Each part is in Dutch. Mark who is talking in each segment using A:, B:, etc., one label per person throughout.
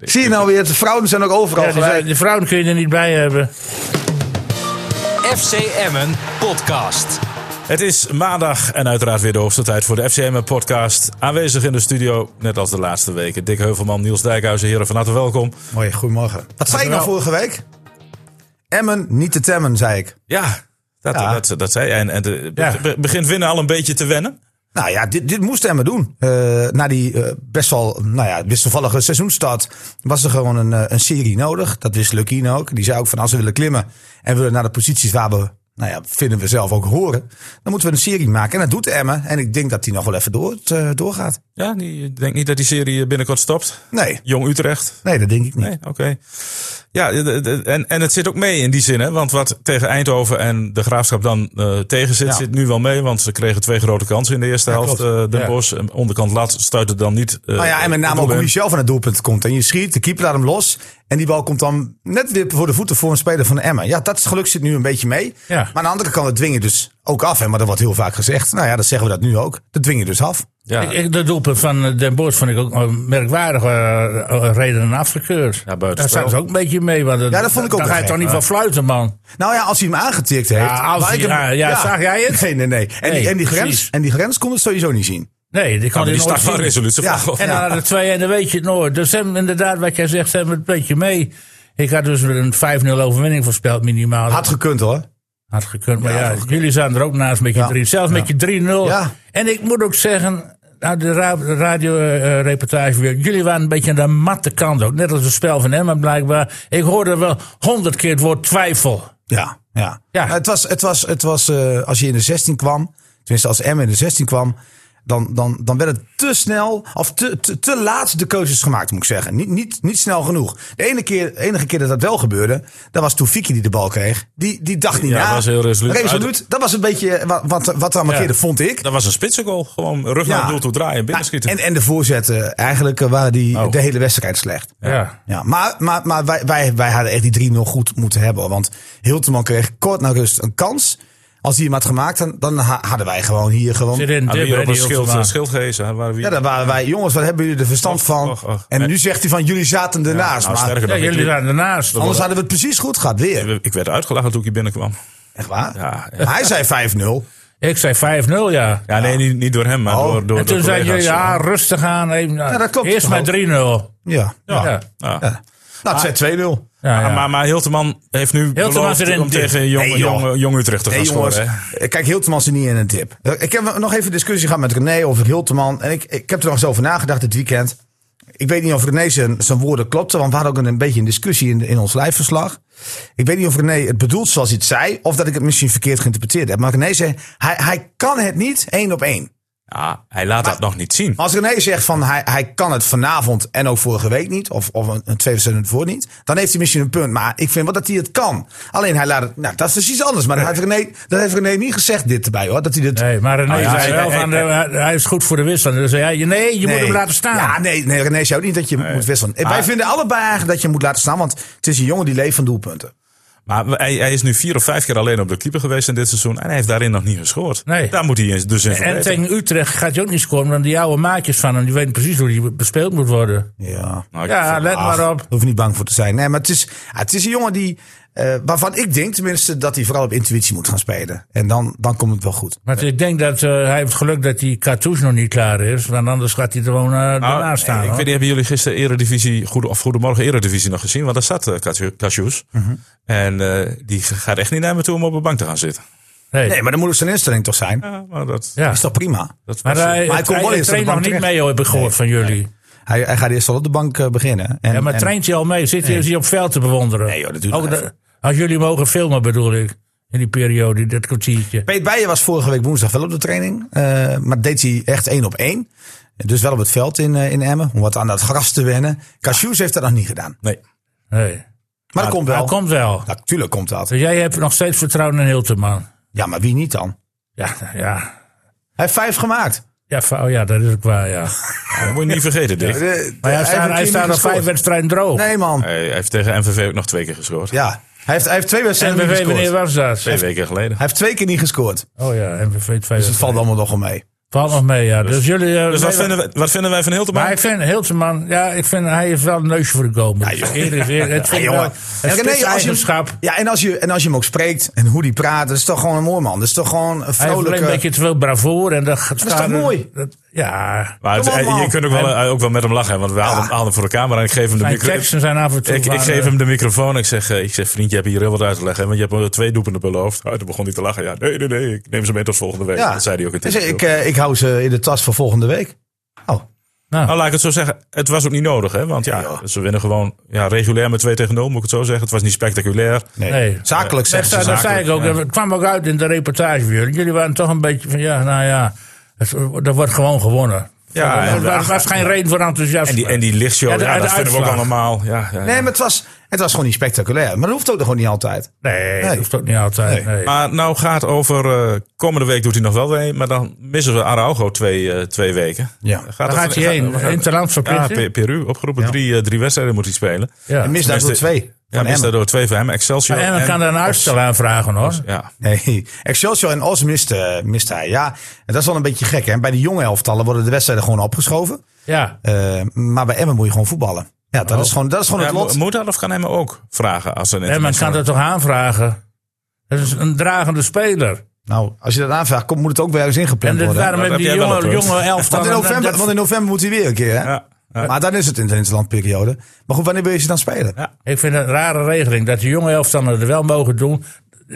A: Zie je nou weer, de vrouwen zijn ook overal
B: Ja,
A: gelijk.
B: de, de vrouwen kun je er niet bij hebben.
C: FC Emmen podcast.
D: Het is maandag en uiteraard weer de hoogste tijd voor de FCM-podcast. Aanwezig in de studio, net als de laatste weken. Dick Heuvelman, Niels Dijkhuizen, heren van harte welkom.
A: Mooi, goedemorgen. Wat zei ik nou vorige week? Emmen, niet te temmen, zei ik.
D: Ja, dat,
A: Ja.
D: dat, dat zei jij. En, en de,
B: Ja.
D: be- be- begint winnen al een beetje te wennen.
A: Nou ja, dit, dit moest Emmen doen. Eh, na die eh, best wel, nou ja, wisselvallige seizoenstart was er gewoon een, eh, een serie nodig. Dat wist Lukien ook. Die zei ook van als we willen klimmen en willen naar de posities waar we, nou ja, vinden we zelf ook horen. Dan moeten we een serie maken. En dat doet Emmen. En ik denk dat die nog wel even door, eh, doorgaat.
D: Ja, die- ik denk niet dat die serie binnenkort stopt.
A: Nee,
D: Jong Utrecht.
A: nee, dat denk ik niet.
D: Nee, oké. Ja, de- de- en, en het zit ook mee in die zin. Hè? Want wat tegen Eindhoven en de Graafschap dan eh, tegen zit,
A: Ja.
D: zit nu wel mee. Want ze kregen twee grote kansen in de eerste helft.
A: klopt.
D: eh Den
B: Ja.
D: Bosch, en onderkant lat, stuitte dan niet. eh,
A: Nou ja, en met name
D: het
A: ook
D: doel
A: hoe je
D: in.
A: zelf aan het doelpunt komt. En je schiet, de keeper laat hem los. En die bal komt dan net weer voor de voeten voor een speler van de Emmen. Ja, dat geluk zit nu een beetje mee.
B: Ja.
A: Maar aan de andere kant, dat dwing je dus ook af. Hè? Maar dat wordt heel vaak gezegd. Nou ja, dat zeggen we dat nu ook. Dat dwing je dus af.
D: Ja.
B: Ik, ik- dat doelpunt van eh, Den Bosch vond ik ook eh, merkwaardig. eh, eh, redenen afgekeurd.
D: Ja, buitenspel.
B: Daar staan ze ook een beetje mee. Want,
A: Ja, dat vond ik ook
B: Daar ga je
A: gek,
B: toch niet
A: maar-
B: van fluiten, man.
A: Nou ja, als hij hem aangetikt heeft.
B: Ja, als
A: waar
B: hij-
A: ik hem-
B: ja, ja, zag jij het?
A: Nee, nee, nee. En,
B: Nee,
A: die, en, die, grens,
B: precies.
A: en die grens kon het sowieso niet zien.
B: Nee, die kan
D: Maar
B: hij
D: die start
B: nooit
D: van
B: zien.
D: resolutie.
A: Ja.
D: van-
B: En dan hadden twee en dan weet je het nooit. Dus ze hebben inderdaad, wat jij zegt, ze hebben het een beetje mee. Ik had dus een 5-0 overwinning voorspeld, minimaal.
A: Had gekund hoor.
B: Had gekund, maar
A: Ja,
B: ja,
A: had gekund.
B: jullie zaten er ook naast met je
A: Ja.
B: drie. Zelfs met je 3-0.
A: Ja.
B: En ik moet ook zeggen, nou, de radioreportage weer. Jullie waren een beetje aan de matte kant ook. Net als het spel van Emma blijkbaar. Ik hoorde wel honderd keer het woord twijfel.
A: Ja, ja.
B: Ja.
A: Maar Het was, het was, het was eh, als je in de 16 kwam, tenminste als M in de 16 kwam, dan, dan, dan werd het te snel of te, te, te laat de keuzes gemaakt, moet ik zeggen. Niet, niet, niet snel genoeg. De ene keer, enige keer dat dat wel gebeurde, dat was Toefiki die de bal kreeg. Die, die dacht niet
D: Ja,
A: na.
D: dat was heel resoluut.
A: Resoluut. Dat was een beetje wat, wat, wat er markeerde,
B: Ja.
A: vond ik.
D: Dat was een spitsengoal. Gewoon rug naar
A: Ja.
D: het doel toe draaien, binnenschieten.
A: En, en de voorzetten, eigenlijk eh, waren die
D: Oh.
A: de hele wedstrijd slecht.
B: Ja.
A: Ja, maar, maar, maar wij, wij, wij hadden echt die 3-0 goed moeten hebben. Want Hilteman kreeg kort na rust een kans. Als die hem had gemaakt, dan, dan ha- hadden wij gewoon hier gewoon...
B: Zit in
D: Hadden we
B: dip,
D: hier op
B: hè,
D: een
B: die
D: schild, eh,
B: Hilterman.
D: schild gehezen, hè, Waren we
A: Ja, dan waren wij... Jongens, wat hebben jullie er verstand
D: Och,
A: van?
D: och, och.
A: En nu zegt hij van, jullie zaten ernaast.
D: nou,
A: maar
D: sterker
B: Ja,
D: nog,
B: jullie
D: ik,
B: zaten ernaast.
A: anders hadden we het precies goed gehad, weer.
D: ik werd uitgelachen toen ik hier binnenkwam.
A: Echt waar?
D: Ja, ja.
A: Maar hij zei 5-0.
B: Ik zei 5-0, ja.
D: Ja, nee, niet, niet door hem, maar
A: Oh.
D: door, door
B: En
D: de
B: toen zei jullie,
D: collega's.
B: ja, rustig aan. Even,
A: dat klopt
B: Eerst
A: toch
B: maar
A: ook?
B: 3-0. Ja.
A: Ja. ja.
B: Ja.
D: Ja.
A: Nou, het zijn 2-0.
B: Ja,
D: Maar, maar, maar Hilteman heeft nu beloofd
B: zit in
D: om
B: dit.
D: tegen jong,
A: Nee, joh.
D: jong, jong Utrecht te gaan
A: Nee, jongens. eh,
D: scoren. hè.
A: Kijk, Hilteman zit niet in een tip. Ik heb nog even discussie gehad met René over Hilteman. En ik, ik heb er nog eens over nagedacht dit weekend. Ik weet niet of René zijn, zijn woorden klopten. Want we hadden ook een, een beetje een discussie in, in ons lijfverslag. Ik weet niet of René het bedoelt zoals hij het zei. Of dat ik het misschien verkeerd geïnterpreteerd heb. Maar René zei, hij, hij kan het niet één op één.
D: Ja, hij laat dat nog niet zien.
A: Maar als René zegt van hij, hij kan het vanavond en ook vorige week niet, of, of een, een twee wedstrijden ervoor niet, dan heeft hij misschien een punt. Maar ik vind wel dat hij het kan. Alleen hij laat het. Nou, dat is dus iets anders. Maar dat heeft René, dat heeft René niet gezegd, dit erbij hoor. Dat hij dit.
B: Nee, maar René
D: Oh, ja,
B: zei
D: hij-
B: wel van,
D: hij-
B: eh, hij is goed voor de wissel. En dan zei hij, nee, je
A: Nee.
B: moet hem laten staan. Ah.
A: Ja, nee, nee, René zei ook niet dat je moet wisselen. En Wij
D: Maar-
A: vinden allebei eigenlijk dat je hem moet laten staan, want het is een jongen die leeft van doelpunten.
D: Maar hij, hij is nu vier of vijf keer alleen op de keeper geweest in dit seizoen. En hij heeft daarin nog niet gescoord.
B: Nee.
D: Daar moet hij in- dus in
B: En
D: verbeteren.
B: tegen Utrecht gaat hij ook niet scoren, want die oude maatjes van hem, die weten precies hoe die bespeeld moet worden.
A: Ja.
D: Nou, ik-
B: Ja, let
A: Ach,
B: maar op.
A: Daar hoef je niet bang voor te zijn. Nee, maar het is, ah, het is een jongen die, eh, waarvan ik denk tenminste dat hij vooral op intuïtie moet gaan spelen. En dan, dan komt het wel goed.
B: Want ik denk dat eh, hij heeft geluk dat die cartouche nog niet klaar is, want anders gaat hij er gewoon eh
A: Ah,
D: Nou,
B: daarnaast
D: Ik
B: staan. hoor.
D: weet niet, hebben jullie gisteren Eredivisie, goede, of Goedemorgen Eredivisie nog gezien? Want daar zat uh, Cassius. En eh, die gaat echt niet naar me toe om op een bank te gaan zitten.
B: Nee.
A: Nee, maar dan moet het zijn instelling toch zijn?
D: Ja, maar dat,
B: ja.
A: Is toch prima?
D: dat
B: Maar eh,
D: was- eh,
B: hij,
A: Maar hij
B: hij,
A: komt wel
B: hij
A: eerst op de
B: traint nog
A: bank
B: niet
A: terecht.
B: mee, hoor, heb ik gehoord van jullie.
A: Hij, hij gaat eerst al op de bank eh, beginnen. En,
B: Ja, maar
A: en-
B: traint hij al mee? Zit hij, is hij op veld te bewonderen?
A: Nee, joh, dat doet
B: Ook
A: nog
B: dat-
A: even.
B: Als jullie mogen filmen, bedoel ik, in die periode, dat kwartiertje.
A: Peet Bijen was vorige week woensdag wel op de training. eh, maar deed hij echt één op één. Dus wel op het veld in, eh, in Emmen. Om wat aan dat gras te wennen. Cashews heeft dat nog niet gedaan.
D: nee.
B: Nee.
A: Maar dat komt wel.
B: Dat Nou, komt wel.
A: Natuurlijk komt dat.
B: Dus jij hebt nog steeds vertrouwen in Hilterman.
A: Ja, maar wie niet dan?
B: Ja, ja.
A: Hij heeft vijf gemaakt.
B: Ja, vou- ja, dat is ook waar, ja.
D: Dat moet je niet vergeten, Dick.
B: Maar hij staat, hij staat al vijf wedstrijden droog.
A: Nee man.
D: Hij heeft tegen MVV ook nog twee keer gescoord.
A: Ja. Hij heeft, hij heeft twee wedstrijden niet
B: MVV,
A: gescoord.
B: wanneer
A: Hij
B: was dat?
D: Twee weken geleden.
A: heeft twee keer niet gescoord.
B: Oh ja, MVV 2.
A: Dus het valt allemaal nog wel mee.
B: Valt nog mee, ja. Dus, jullie... eh,
D: Dus
B: nee,
D: wat vinden, we, wat vinden wij van
B: Maar
D: Hilteman?
B: ik vind Hilteman, ja, ik vind hij heeft wel een neusje voor de goal. Ja, Eerlijk, eerlijk, het vind ik wel.
A: Ah, jongen.
B: Het
A: René,
B: is
A: als je,
B: eigenschap.
A: hem- ja, en als, je, en als je hem ook spreekt en hoe die praat, dat is toch gewoon een mooi man. Dat is toch gewoon een
B: Hij heeft alleen
A: vrolijke...
B: een
D: eh,
B: beetje te veel bravoer. En dat, dat
A: is toch mooi?
B: ja.
D: Maar het-
A: Kom op,
D: eh, je
A: man.
D: kunt ook wel, eh, ook wel met hem lachen, want we halen hem- halen hem voor de camera en ik geef hem de
B: Mijn
D: micro.
B: teksten zijn af en toe...
D: Ik, ik
B: waar,
D: geef
B: eh,
D: hem de microfoon en ik zeg, eh, ik zeg, vriend, je hebt hier heel wat uit te leggen. hè, Want je hebt wel twee doepen op je hoofd. Oh, toen begon hij te lachen. Ja, nee, nee, nee, ik neem ze mee tot volgende week.
A: Ja.
D: Dat zei hij ook in het
A: Dus ik,
D: interview.
A: eh, ik hou ze in de tas voor volgende week. Oh,
D: Nou, laat ik het zo zeggen. Het was ook niet nodig, hè. Want ja,
A: joh.
D: ze winnen gewoon ja, regulair met 2 tegen 0, moet ik het zo zeggen. Het was niet spectaculair.
A: nee.
B: Nee.
A: Zakelijk
B: Dat,
A: zegt
B: zei-
A: ze.
B: dat zei ik ook.
D: ja.
B: Het kwam ook uit in de reportage van jullie. Jullie waren toch een beetje van, ja, nou ja, het, er wordt gewoon gewonnen.
D: Ja, en-
B: er was, was geen reden voor enthousiasme.
D: En die, en die lichtshow, ja,
B: Ja, de- de
D: dat vinden we ook
B: uitslag.
D: allemaal. Ja, ja, ja.
A: Nee, maar het was, het was gewoon niet spectaculair. Maar dat hoeft ook nog gewoon niet altijd.
B: nee, dat
A: Nee.
B: hoeft ook niet altijd. Nee.
D: Maar nou gaat over, eh, komende week doet hij nog wel mee. Maar dan missen we Araujo twee, eh, twee weken.
A: Ja.
D: Gaat
B: Waar gaat hij heen? Interland
D: Ja,
B: verplichting?
D: Ah, Pe- Peru, opgeroepen. Drie, eh, drie wedstrijden moet hij spelen.
A: En mis daardoor
D: Tenminste,
A: twee.
D: Ja,
A: Van
D: mist
A: Emmen.
D: daardoor twee van hem. Excelsior.
B: en we gaan daar een uitstel aanvragen hoor.
D: Ja.
A: Nee, Excelsior en Os mist, eh, mist hij. Ja, en dat is wel een beetje gek. Hè? Bij de jonge elftallen worden de wedstrijden gewoon opgeschoven.
B: Ja.
A: Eh, maar bij Emmen moet je gewoon voetballen. Ja,
B: Oh.
A: dat is gewoon, dat is gewoon
D: Ja,
A: het lot.
D: mo- moet dat of kan hem ook vragen als een
B: En men kan
D: international-
B: dat toch aanvragen? Dat is een dragende speler.
A: Nou, als je dat aanvraagt, komt, moet het ook weer eens
B: En
A: ingepland
B: dus
A: worden.
B: daarom
D: dat
B: hebben die
D: heb jij wel
B: jonge,
D: een punt.
B: jonge
A: Want
B: elftallen...
A: in, november, want in november moet hij weer een keer. Hè?
D: Ja. Ja.
A: Maar dan is het in de interlandperiode. Maar goed, wanneer wil je ze dan spelen?
D: Ja.
B: Ik vind het een rare regeling dat de jonge elftallen er wel mogen doen.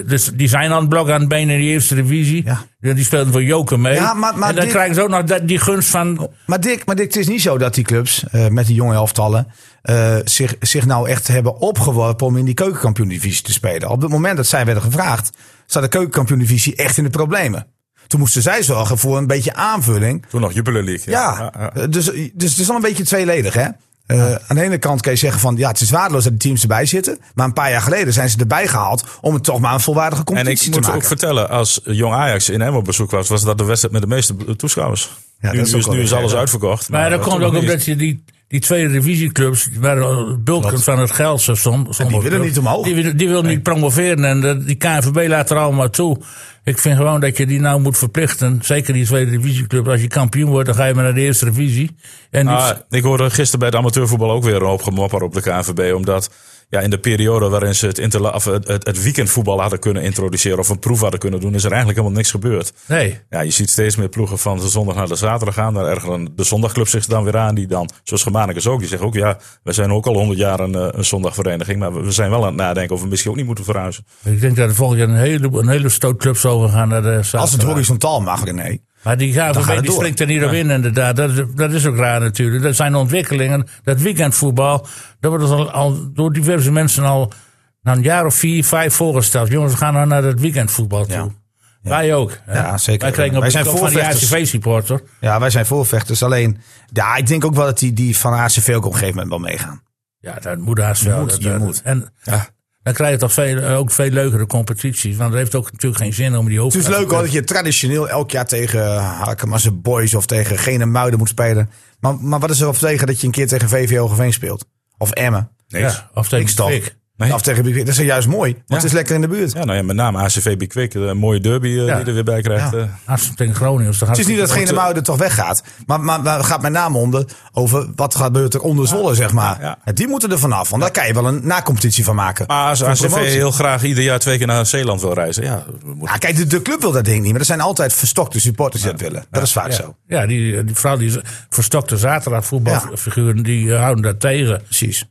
B: Dus die zijn aan het blok aan het been in de eerste divisie.
A: Ja.
B: Ja, Die spelen voor Joker mee.
A: Ja, maar- maar
B: en dan
A: dit-
B: krijgen ze ook nog dat- die gunst van.
A: Maar, Dick, maar Dick, het is niet zo dat die clubs eh, met die jonge elftallen eh, zich, zich nou echt hebben opgeworpen om in die keukenkampioen-divisie te spelen. Op het moment dat zij werden gevraagd, staat de keukenkampioen-divisie echt in de problemen. Toen moesten zij zorgen voor een beetje aanvulling.
D: Toen nog Jupiler League.
A: Ja, eh, Dus, dus het is al een beetje tweeledig, hè? Eh, Aan de ene kant kan je zeggen van ja, het is waardeloos dat die teams erbij zitten. Maar een paar jaar geleden zijn ze erbij gehaald om het toch maar een volwaardige
D: En
A: competitie
D: ik
A: te
D: moet
A: maken.
D: ook vertellen, als Jong Ajax in Emmen op bezoek was, was dat de wedstrijd met de meeste toeschouwers.
A: Ja,
D: nu,
A: dat is
D: nu
A: ook
D: is,
A: wel
D: nu is
A: weer,
D: alles
A: ja.
D: uitverkocht.
B: Maar dat komt ook
D: op
B: omdat je die, die tweede divisieclubs, waar de bulken van het geld zo soms.
A: willen niet omhoog.
B: Die, wil- die willen niet promoveren en dat- die KNVB laat er allemaal toe. Ik vind gewoon dat je die nou moet verplichten. Zeker die tweede divisieclub. Als je kampioen wordt, dan ga je maar naar de eerste divisie. En die,
D: Ah, ik hoorde gisteren bij het amateurvoetbal ook weer een hoop gemopper op de KNVB. Omdat ja, in de periode waarin ze het, interla- of het, het, het weekendvoetbal hadden kunnen introduceren of een proef hadden kunnen doen, is er eigenlijk helemaal niks gebeurd.
B: nee.
D: Ja, je ziet steeds meer ploegen van de zondag naar de zaterdag gaan. Daar ergeren de zondagclub zich dan weer aan. Die dan, zoals Germanicus ook, die zegt ook... ja, we zijn ook al 100 jaar een, eh, een zondagvereniging... maar we- we zijn wel aan het nadenken of we misschien ook niet moeten verhuizen.
B: Ik denk dat er volgend jaar een hele, een hele stoot clubs over gaan naar de
A: Als het
B: zaterdag.
A: horizontaal mag, René.
B: Maar die
A: Dan gaat
B: KVB
A: het
B: die
A: door.
B: springt er niet op in, inderdaad. Dat, is- dat is ook raar natuurlijk. Dat zijn ontwikkelingen. Dat weekendvoetbal, dat wordt al, al door diverse mensen al na een jaar of vier, vijf voorgesteld. Jongens, we gaan nou naar dat weekendvoetbal toe.
A: Ja.
B: Wij ook. hè.
A: Ja, zeker.
B: Wij kregen op
A: Wij
B: de
A: zijn
B: kop van die
A: voorvechters.
B: ACV-supporter.
A: Ja, wij zijn voorvechters. Alleen, ja, ik denk ook wel dat die, die van ACV ook op een gegeven moment wel meegaan.
B: Ja, dat moet haast wel.
A: moet,
B: dat,
A: je
B: dat-
A: moet.
B: En dan krijg je toch veel, eh, ook veel leukere competities. Want het heeft ook natuurlijk geen zin om die hoofd...
A: Het is leuk hoor dat je traditioneel elk jaar tegen Harkemasse Boys of tegen Gene Muiden moet spelen. Maar, maar wat is er op tegen dat je een keer tegen VVO Geveen speelt? Of Emmen?
D: Nee. Ja.
B: Ja, of tegen
A: Niks toch?
B: Fik.
D: Nee.
A: Of tegen Bibi- Dat is juist mooi, want het is lekker in de buurt.
D: nou ja, met name ACV Bikwik. Een mooie derby eh,
B: Ja.
D: die je er weer bij krijgt.
A: Ja.
D: eh.
B: Hartstikke tegen Groningen. dus
A: Het is niet dat eh, Gene Muiden toch weggaat. Maar, maar, maar het gaat met name om de, over wat gebeurt er onder Zwolle, zeg maar.
D: Ja.
A: En Die moeten er vanaf, want daar kan je wel een nacompetitie van maken.
D: Maar als
A: Voor
D: ACV
A: promotie.
D: heel graag ieder jaar twee keer naar Zeeland wil reizen... ja, we moeten-
A: Ja, Ah, kijk, de, de club wil dat ding niet, maar er zijn altijd verstokte supporters die dat willen. Dat is vaak zo.
B: Ja, die, die vooral die verstokte zaterdagvoetbalfiguren,
A: Ja.
B: voetbalfiguren die eh, houden dat tegen. Precies.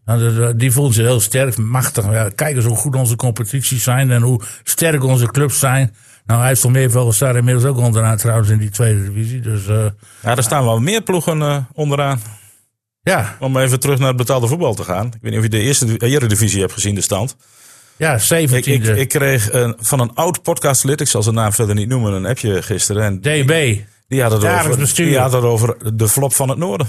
B: die voelen ze heel sterk, machtig. Ja, kijk eens hoe goed onze competities zijn en hoe sterk onze clubs zijn. Nou, IJsselmeervogels staan inmiddels ook onderaan trouwens in die tweede divisie. Dus eh,
D: ja, er staan wel meer ploegen eh, onderaan.
B: ja,
D: Om even terug naar het betaalde voetbal te gaan. Ik weet niet of je de eerste eh, eredivisie hebt gezien, de stand.
B: ja,
D: Ik, ik,
B: 17e.
D: ik kreeg een, van een oud podcastlid, ik zal zijn naam verder niet noemen, een appje gisteren. En
B: DB.
D: Die had, het
B: Dagelijks
D: over,
B: bestuur.
D: die had het over de flop van het noorden.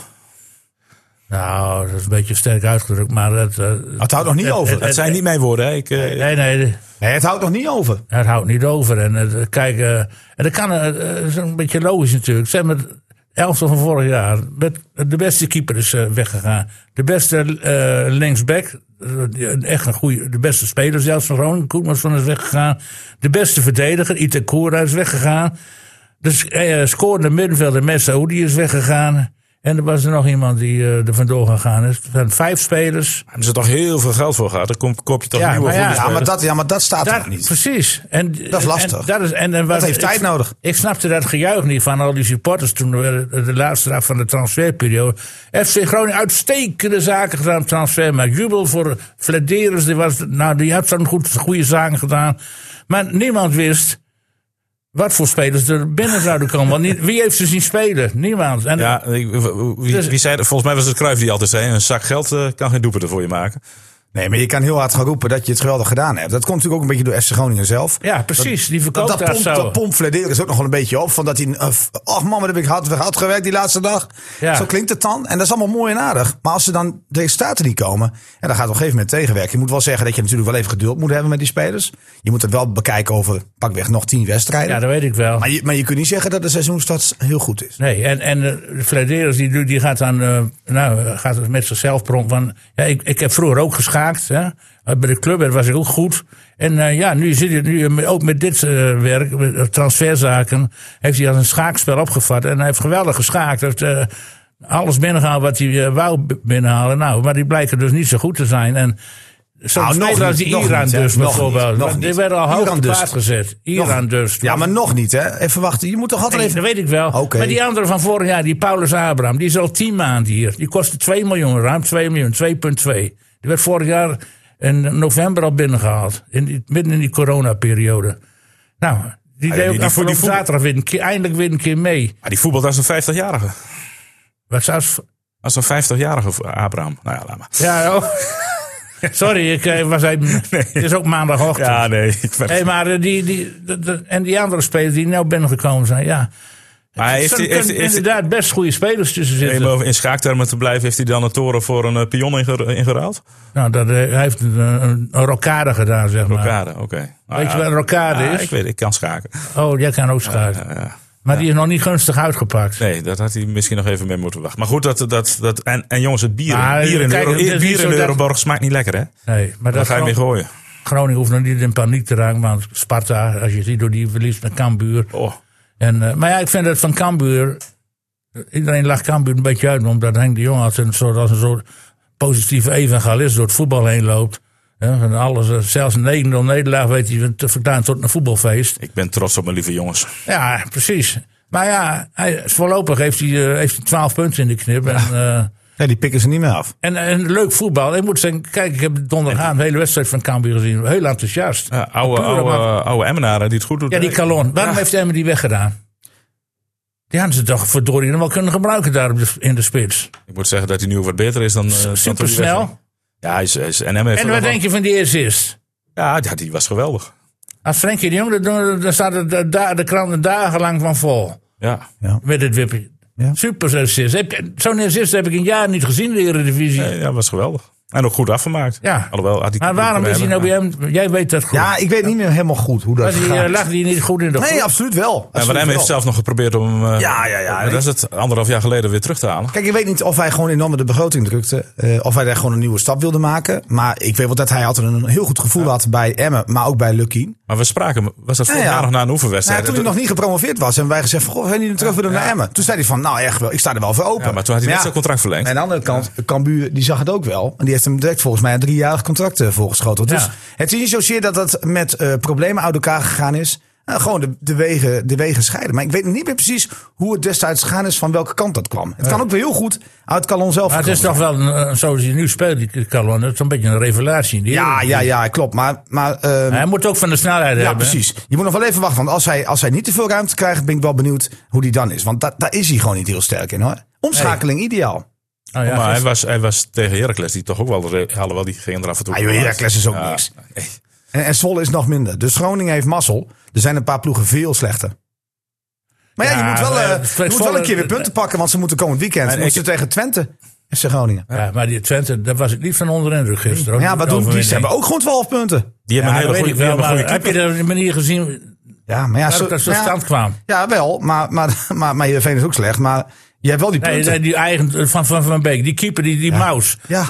B: Nou, dat is een beetje sterk uitgedrukt, maar dat... eh,
A: Het houdt nog niet
B: het-
A: over.
B: het-
D: Dat zijn niet mijn woorden. Hè. Ik, eh,
B: nee, nee,
A: Nee, het houdt nog niet over.
B: Het houdt niet over. En eh, kijk, eh, en dat kan, eh, eh, is een beetje logisch natuurlijk. Ze hebben het elftal van vorig jaar. Met de beste keeper is eh, weggegaan. De beste eh, linksback. eh, die- een Echt een goede. De beste speler zelfs van Groningen. Koekmansson is weggegaan. De beste verdediger. Itakura is weggegaan. Dus eh, scorende middenvelder Messa, die is weggegaan. En er was er nog iemand die eh, er vandoor gegaan is. Er zijn vijf spelers.
D: Hebben ze toch heel veel geld voor gehad? Dan koop- koop je toch
B: Ja,
D: nieuwe
B: maar ja.
A: Ja,
D: voetbalspelers?
A: maar dat, ja, maar dat staat er
B: Daar-
A: nog niet.
B: Precies. En, dat
A: is lastig.
B: En, dat is, en, en wat-
A: Dat heeft
B: ik-
A: tijd nodig.
B: Ik snapte dat gejuich niet van al die supporters toen we de, de laatste dag van de transferperiode. FC Groningen uitstekende zaken gedaan op transfermarkt. Jubel voor Flederis, die, was, nou, die had zo'n goed, goede zaken gedaan. Maar niemand wist wat voor spelers er binnen zouden komen. Want niet- wie heeft ze zien spelen? Niemand. En,
D: Ja, ik- wie,
B: Dus-
D: wie zei dat? Volgens mij was het Cruijff die altijd zei: een zak geld eh, kan geen doepen ervoor je maken.
A: Nee, maar je kan heel hard gaan roepen dat je het geweldig gedaan hebt. Dat komt natuurlijk ook een beetje door FC Groningen zelf.
B: ja precies. die
A: Dat,
B: verkoopt
A: dat,
B: dat,
A: pomp,
B: zo.
A: dat pomfladeren is ook nog wel een beetje op. Van dat hij, eh, f- ach man, wat heb ik hard, hard gewerkt die laatste dag.
B: Ja.
A: Zo klinkt het dan. En dat is allemaal mooi en aardig. Maar als ze dan de resultaten niet komen. En dan gaat het op een gegeven moment tegenwerken. Je moet wel zeggen dat je natuurlijk wel even geduld moet hebben met die spelers. Je moet het wel bekijken over pakweg nog tien wedstrijden.
B: ja, dat weet ik wel.
A: maar, je, maar je kunt niet zeggen dat de seizoenstart heel goed is.
B: Nee, en, en eh, de Flederis die, doet- die gaat dan eh, nou, eh, gaat met zichzelf pronken. Van, ja, ik, ik heb vroeger ook geschaakt. Hè? Eh, Bij de club daar was ik ook goed. En eh, ja, nu zit hij nu eh, ook met dit eh, werk, met, eh, transferzaken, heeft hij als een schaakspel opgevat. En hij heeft geweldig geschaakt. Hij heeft eh, alles binnengehaald wat hij eh, wou b- binnenhalen. Nou, maar die blijken dus niet zo goed te zijn. En zo'n
A: Nou, nog
B: speler als
A: niet,
B: die
A: nog
B: Iran
A: niet, hè.
B: dus
A: Nog niet,
B: bijvoorbeeld.
A: nog
B: want die
A: niet.
B: werden al hoog
A: Iran
B: op de
A: dus.
B: paard gezet. Iran dus.
A: Ja, maar nog niet, hè? Even wachten. Je moet toch altijd
B: Nee,
A: even.
B: dat weet ik wel.
A: Oké.
B: Maar die andere van vorig jaar, die Paulus Abraham, die is al 10 maanden hier. Die kostte 2 miljoen, ruim 2 miljoen, 2,2. Die werd vorig jaar in november al binnengehaald. In die, midden in die coronaperiode. Nou, die deed
D: Ah die-
B: ook
D: die-
B: afgelopen
D: die voetbal-
B: zaterdag weer een keer, eindelijk weer een keer mee.
D: Maar die voetbal, dat is een 50-jarige.
B: Wat zou ze-
D: Dat is een 50-jarige voor Abraham. Nou ja, laat maar.
B: Ja, oh. Sorry, ik eh, was even... Het is ook maandagochtend.
D: Ja, nee. Ik ben-
B: Hey, maar eh, die, die, de- de- en die andere spelers die nou binnengekomen zijn, ja.
D: maar hij heeft,
B: er
D: heeft,
B: kunnen
D: heeft,
B: inderdaad best goede spelers tussen zitten.
D: heeft- om in schaaktermen te blijven, heeft hij dan een toren voor een eh, pion inge- ingeruild?
B: Nou, dat, eh, hij heeft een, een, een rokade gedaan, zeg maar.
D: Rokade, oké. Nou
B: Weet je
D: ja,
B: wat een rokade
D: ja,
B: is?
D: Ik weet ik kan schaken.
B: Oh, jij kan ook schaken.
D: Ja.
B: maar die is nog niet gunstig uitgepakt.
D: Nee, dat had hij misschien nog even mee moeten wachten. Maar goed, dat, dat, dat, en, en jongens, het bier,
B: Maar,
D: bier in,
B: kijk,
D: Euro-
B: het is niet
D: bier
B: zo
D: in
B: dat-
D: Euroborg smaakt niet lekker, hè?
B: Nee, maar
D: Dan
B: dat
D: ga je hem
B: Gron-
D: weer gooien.
B: Groningen hoeft nog niet in paniek te raken. Want Sparta, als je ziet door die verlies met Cambuur.
D: Oh.
B: En, eh, maar ja, ik vind dat van Cambuur... eh, Iedereen lacht Cambuur een beetje uit. Omdat Henk de Jong als een soort, als een soort positieve evangelist door het voetbal heen loopt. hè, van alles, eh, zelfs een 9-0 nederlaag weet hij te vertaan tot een voetbalfeest.
D: Ik ben trots op mijn lieve jongens.
B: Ja, precies. Maar ja, hij, voorlopig heeft hij, eh, heeft hij 12 punten in de knip. En, eh,
A: Nee, die pikken ze niet meer af.
B: en, en leuk voetbal. Ik moet zeggen, kijk, ik heb donderdagavond de hele wedstrijd van Cambuur gezien. Heel enthousiast.
D: Ja, oude,
B: Pure
D: oude,
B: man.
D: oude Emmenaren die het goed doet.
B: Ja, die Calon. Waarom heeft Emmen die weggedaan? Die hadden ze toch verdorie nog wel kunnen gebruiken daar op de- in de spits.
D: Ik moet zeggen dat hij nu wat beter is dan... eh, dan toen hij
B: Supersnel.
D: wegging. Ja, hij is... hij is- en hem heeft
B: En
D: er
B: wat
D: nog
B: denk je van die eerste
D: wel- Ja, ja, die was geweldig.
B: Als Frenkie de Jong dat doet, dan staat de, de, da- de kranten dagenlang van vol.
D: Ja.
B: Met dit wipje.
A: Ja.
B: Super assist. Heb je- Zo'n assist heb ik een jaar niet gezien in de Eredivisie.
D: Nee, ja, was geweldig. En ook goed afgemaakt.
B: Ja.
D: Alhoewel, had die
B: Maar waarom is hij nou bij hem? Jij weet dat goed.
A: Ja, ik weet niet meer helemaal goed hoe dat
B: Was hij, eh,
A: gaat.
B: lag hij niet goed in de
A: Nee,
B: groep?
A: absoluut wel.
D: Ja,
A: Absoluut
D: maar hem
A: wel.
D: heeft zelf nog geprobeerd om... hem, eh,
A: Ja, ja, ja.
D: maar Dat is het anderhalf jaar geleden weer terug te halen.
A: Kijk, ik weet niet of hij gewoon enorm de begroting drukte. eh, of hij daar gewoon een nieuwe stap wilde maken. Maar ik weet wel dat hij altijd een heel goed gevoel had bij Emmen, maar ook bij Lucky.
D: Maar we spraken... Was dat vorig
A: Ja, ja.
D: jaar nog na een oefenwedstrijd?
A: Nou, toen hij nog niet gepromoveerd was, hebben wij gezegd: van, Goh, hebben jullie hem terug willen naar Emmen? Toen zei hij van: Nou, echt wel, ik sta er wel voor open.
D: Ja, maar toen had hij net
A: ja,
D: zijn contract verlengd.
A: Aan de andere kant, Cambuur die zag het ook wel. En die heeft hem direct volgens mij een driejarig contract eh, voorgeschoteld. Dus
B: Ja.
A: het is niet zozeer dat dat met eh, problemen uit elkaar gegaan is. Nou, gewoon de, de, wegen, de wegen scheiden. Maar ik weet niet meer precies hoe het destijds gegaan is van welke kant dat kwam. Het kan ook weer heel goed uit Calon zelf
B: Maar het is
A: gekomen
B: toch wel, een, eh, zoals hij nu speelt, die Calon, dat is een beetje een revelatie. in de
A: zijn. Ja,
B: Eredivisie.
A: ja, ja, klopt. Maar, maar ehm,
B: Hij moet ook van de snelheid
A: ja,
B: hebben.
A: precies. Je moet nog wel even wachten. Want als hij, als hij niet te veel ruimte krijgt, ben ik wel benieuwd hoe die dan is. Want da, daar is hij gewoon niet heel sterk in hoor. Omschakeling ideaal.
B: Oh, ja,
D: maar hij
B: gisteren-
D: was, hij was tegen Heracles, die toch ook wel... re- Alhoewel, die ging er af en toe...
A: Ah, joh, Heracles is ook niks. En, en Zwolle is nog minder. Dus Groningen heeft mazzel. Er zijn een paar ploegen veel slechter. Maar ja,
B: Ja,
A: je, moet wel, eh,
B: eh,
A: je moet wel
B: Zwolle-
A: een keer weer punten pakken. Want ze moeten komend weekend. Ze
D: ik-
A: moeten tegen Twente. En ze Groningen.
B: ja, maar die Twente, daar was ik niet van onder indruk gisteren. ook
A: Ja,
B: die
A: wat doen die?
B: overwinning.
A: Ze hebben ook gewoon 12 punten.
D: Die hebben
B: Ja,
D: een
B: dat
D: hele
B: weet
D: goede, die
B: ik wel,
D: hebben een
B: maar
D: goede
B: heb je de manier gezien
A: Ja, maar ja,
B: dat dat ze
A: Ah, ja,
B: stand kwam?
A: ja, wel. Maar, maar, maar, maar Heerenveen is ook slecht. Maar je hebt wel die
B: Nee,
A: punten.
B: nee, die eigen eh, van Van, van Beek, die keeper, die, die Maus.
A: ja.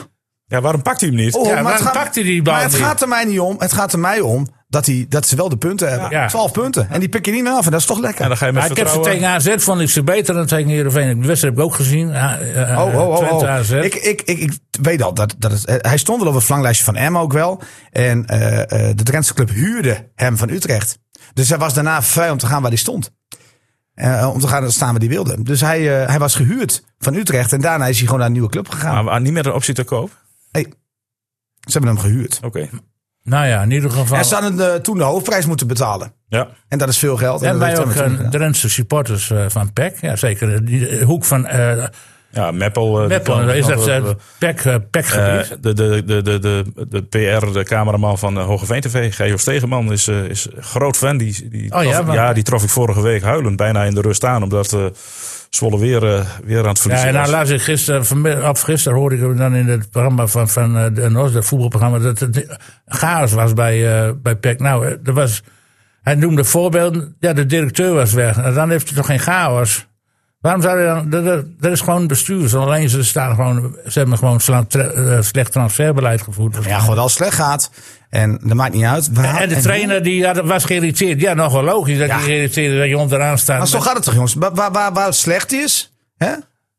D: Ja, waarom pakt hij hem niet?
A: Oh,
B: Ja,
A: maar
B: waarom
A: het gaat,
B: pakt hij die bal
A: maar het
B: niet?
A: gaat er mij niet om. Het gaat er mij om dat, hij, dat ze wel de punten hebben.
B: Ja.
A: 12 punten. En die pik je niet meer af. En dat is toch lekker.
D: En dan ga je met
B: Maar ik heb ze
D: vertrouwen-
B: tegen AZ vond ik ze beter dan tegen Heerenveen. De wedstrijd heb ik ook gezien. Ah, eh, eh,
A: Oh, oh, oh,
B: Twente
A: oh.
B: AZ.
A: Ik, ik, ik, ik weet al, dat, dat is, eh, hij stond wel op het flanklijstje van Emma ook wel. En eh, eh, de Drentse club huurde hem van Utrecht. Dus hij was daarna vrij om te gaan waar hij stond. Eh, om te gaan staan waar hij wilde. Dus hij, eh, hij was gehuurd van Utrecht. En daarna is hij gewoon naar een nieuwe club gegaan.
B: Ah.
D: Maar, maar niet met een optie te koop?
A: Hey, ze hebben hem gehuurd.
B: Ah.
D: Oké.
B: Nou ja, in ieder geval.
A: En ze hadden eh, toen de hoofdprijs moeten betalen.
D: Ja.
A: En dat is veel geld.
B: En
A: dat
B: wij
A: heeft
B: ook
A: Emma toen
B: eh,
A: gedaan.
B: Drentse supporters eh, van PEC. Ja, zeker. eh, Die eh, hoek van eh
D: Ja, Meppel. eh, die
B: Meppel.
D: kan-
B: Is dat
D: kan-
B: eh, PEC, eh,
D: eh,
B: PEC-gebied?
D: de, de, de, de, de, de PR, de cameraman van eh, Hogeveen TV, Geo Stegeman, is, eh, is groot fan. Die, die,
B: Oh ja,
D: trof,
B: maar-
D: die trof ik vorige week huilend bijna in de rust aan. Omdat eh, Zwolle weer, eh, weer aan het
B: Ja,
D: verliezen
B: en
D: was.
B: nou laat ik gisteren, vanmiddag- of gisteren hoorde ik hem dan in het programma van, van eh, de NOS, dat voetbalprogramma, dat het chaos was bij, eh bij PEC. Nou, eh, er was, hij noemde voorbeelden, ja, de directeur was weg. En dan heeft hij toch geen chaos. Waarom zou je dan, dat- dat, dat is gewoon bestuurs. Alleen ze, staan gewoon, ze hebben gewoon sla- tra- eh, slecht transferbeleid gevoerd.
A: Ja, gewoon als het slecht gaat. En dat maakt niet uit. We
B: En
A: halen-
B: de trainer die had, was geïrriteerd. Ja, nog wel logisch dat
A: Ja.
B: hij geïrriteerd is dat je onderaan staat.
A: Maar zo gaat het toch, jongens? Waar, waar, waar, waar het slecht is, hè?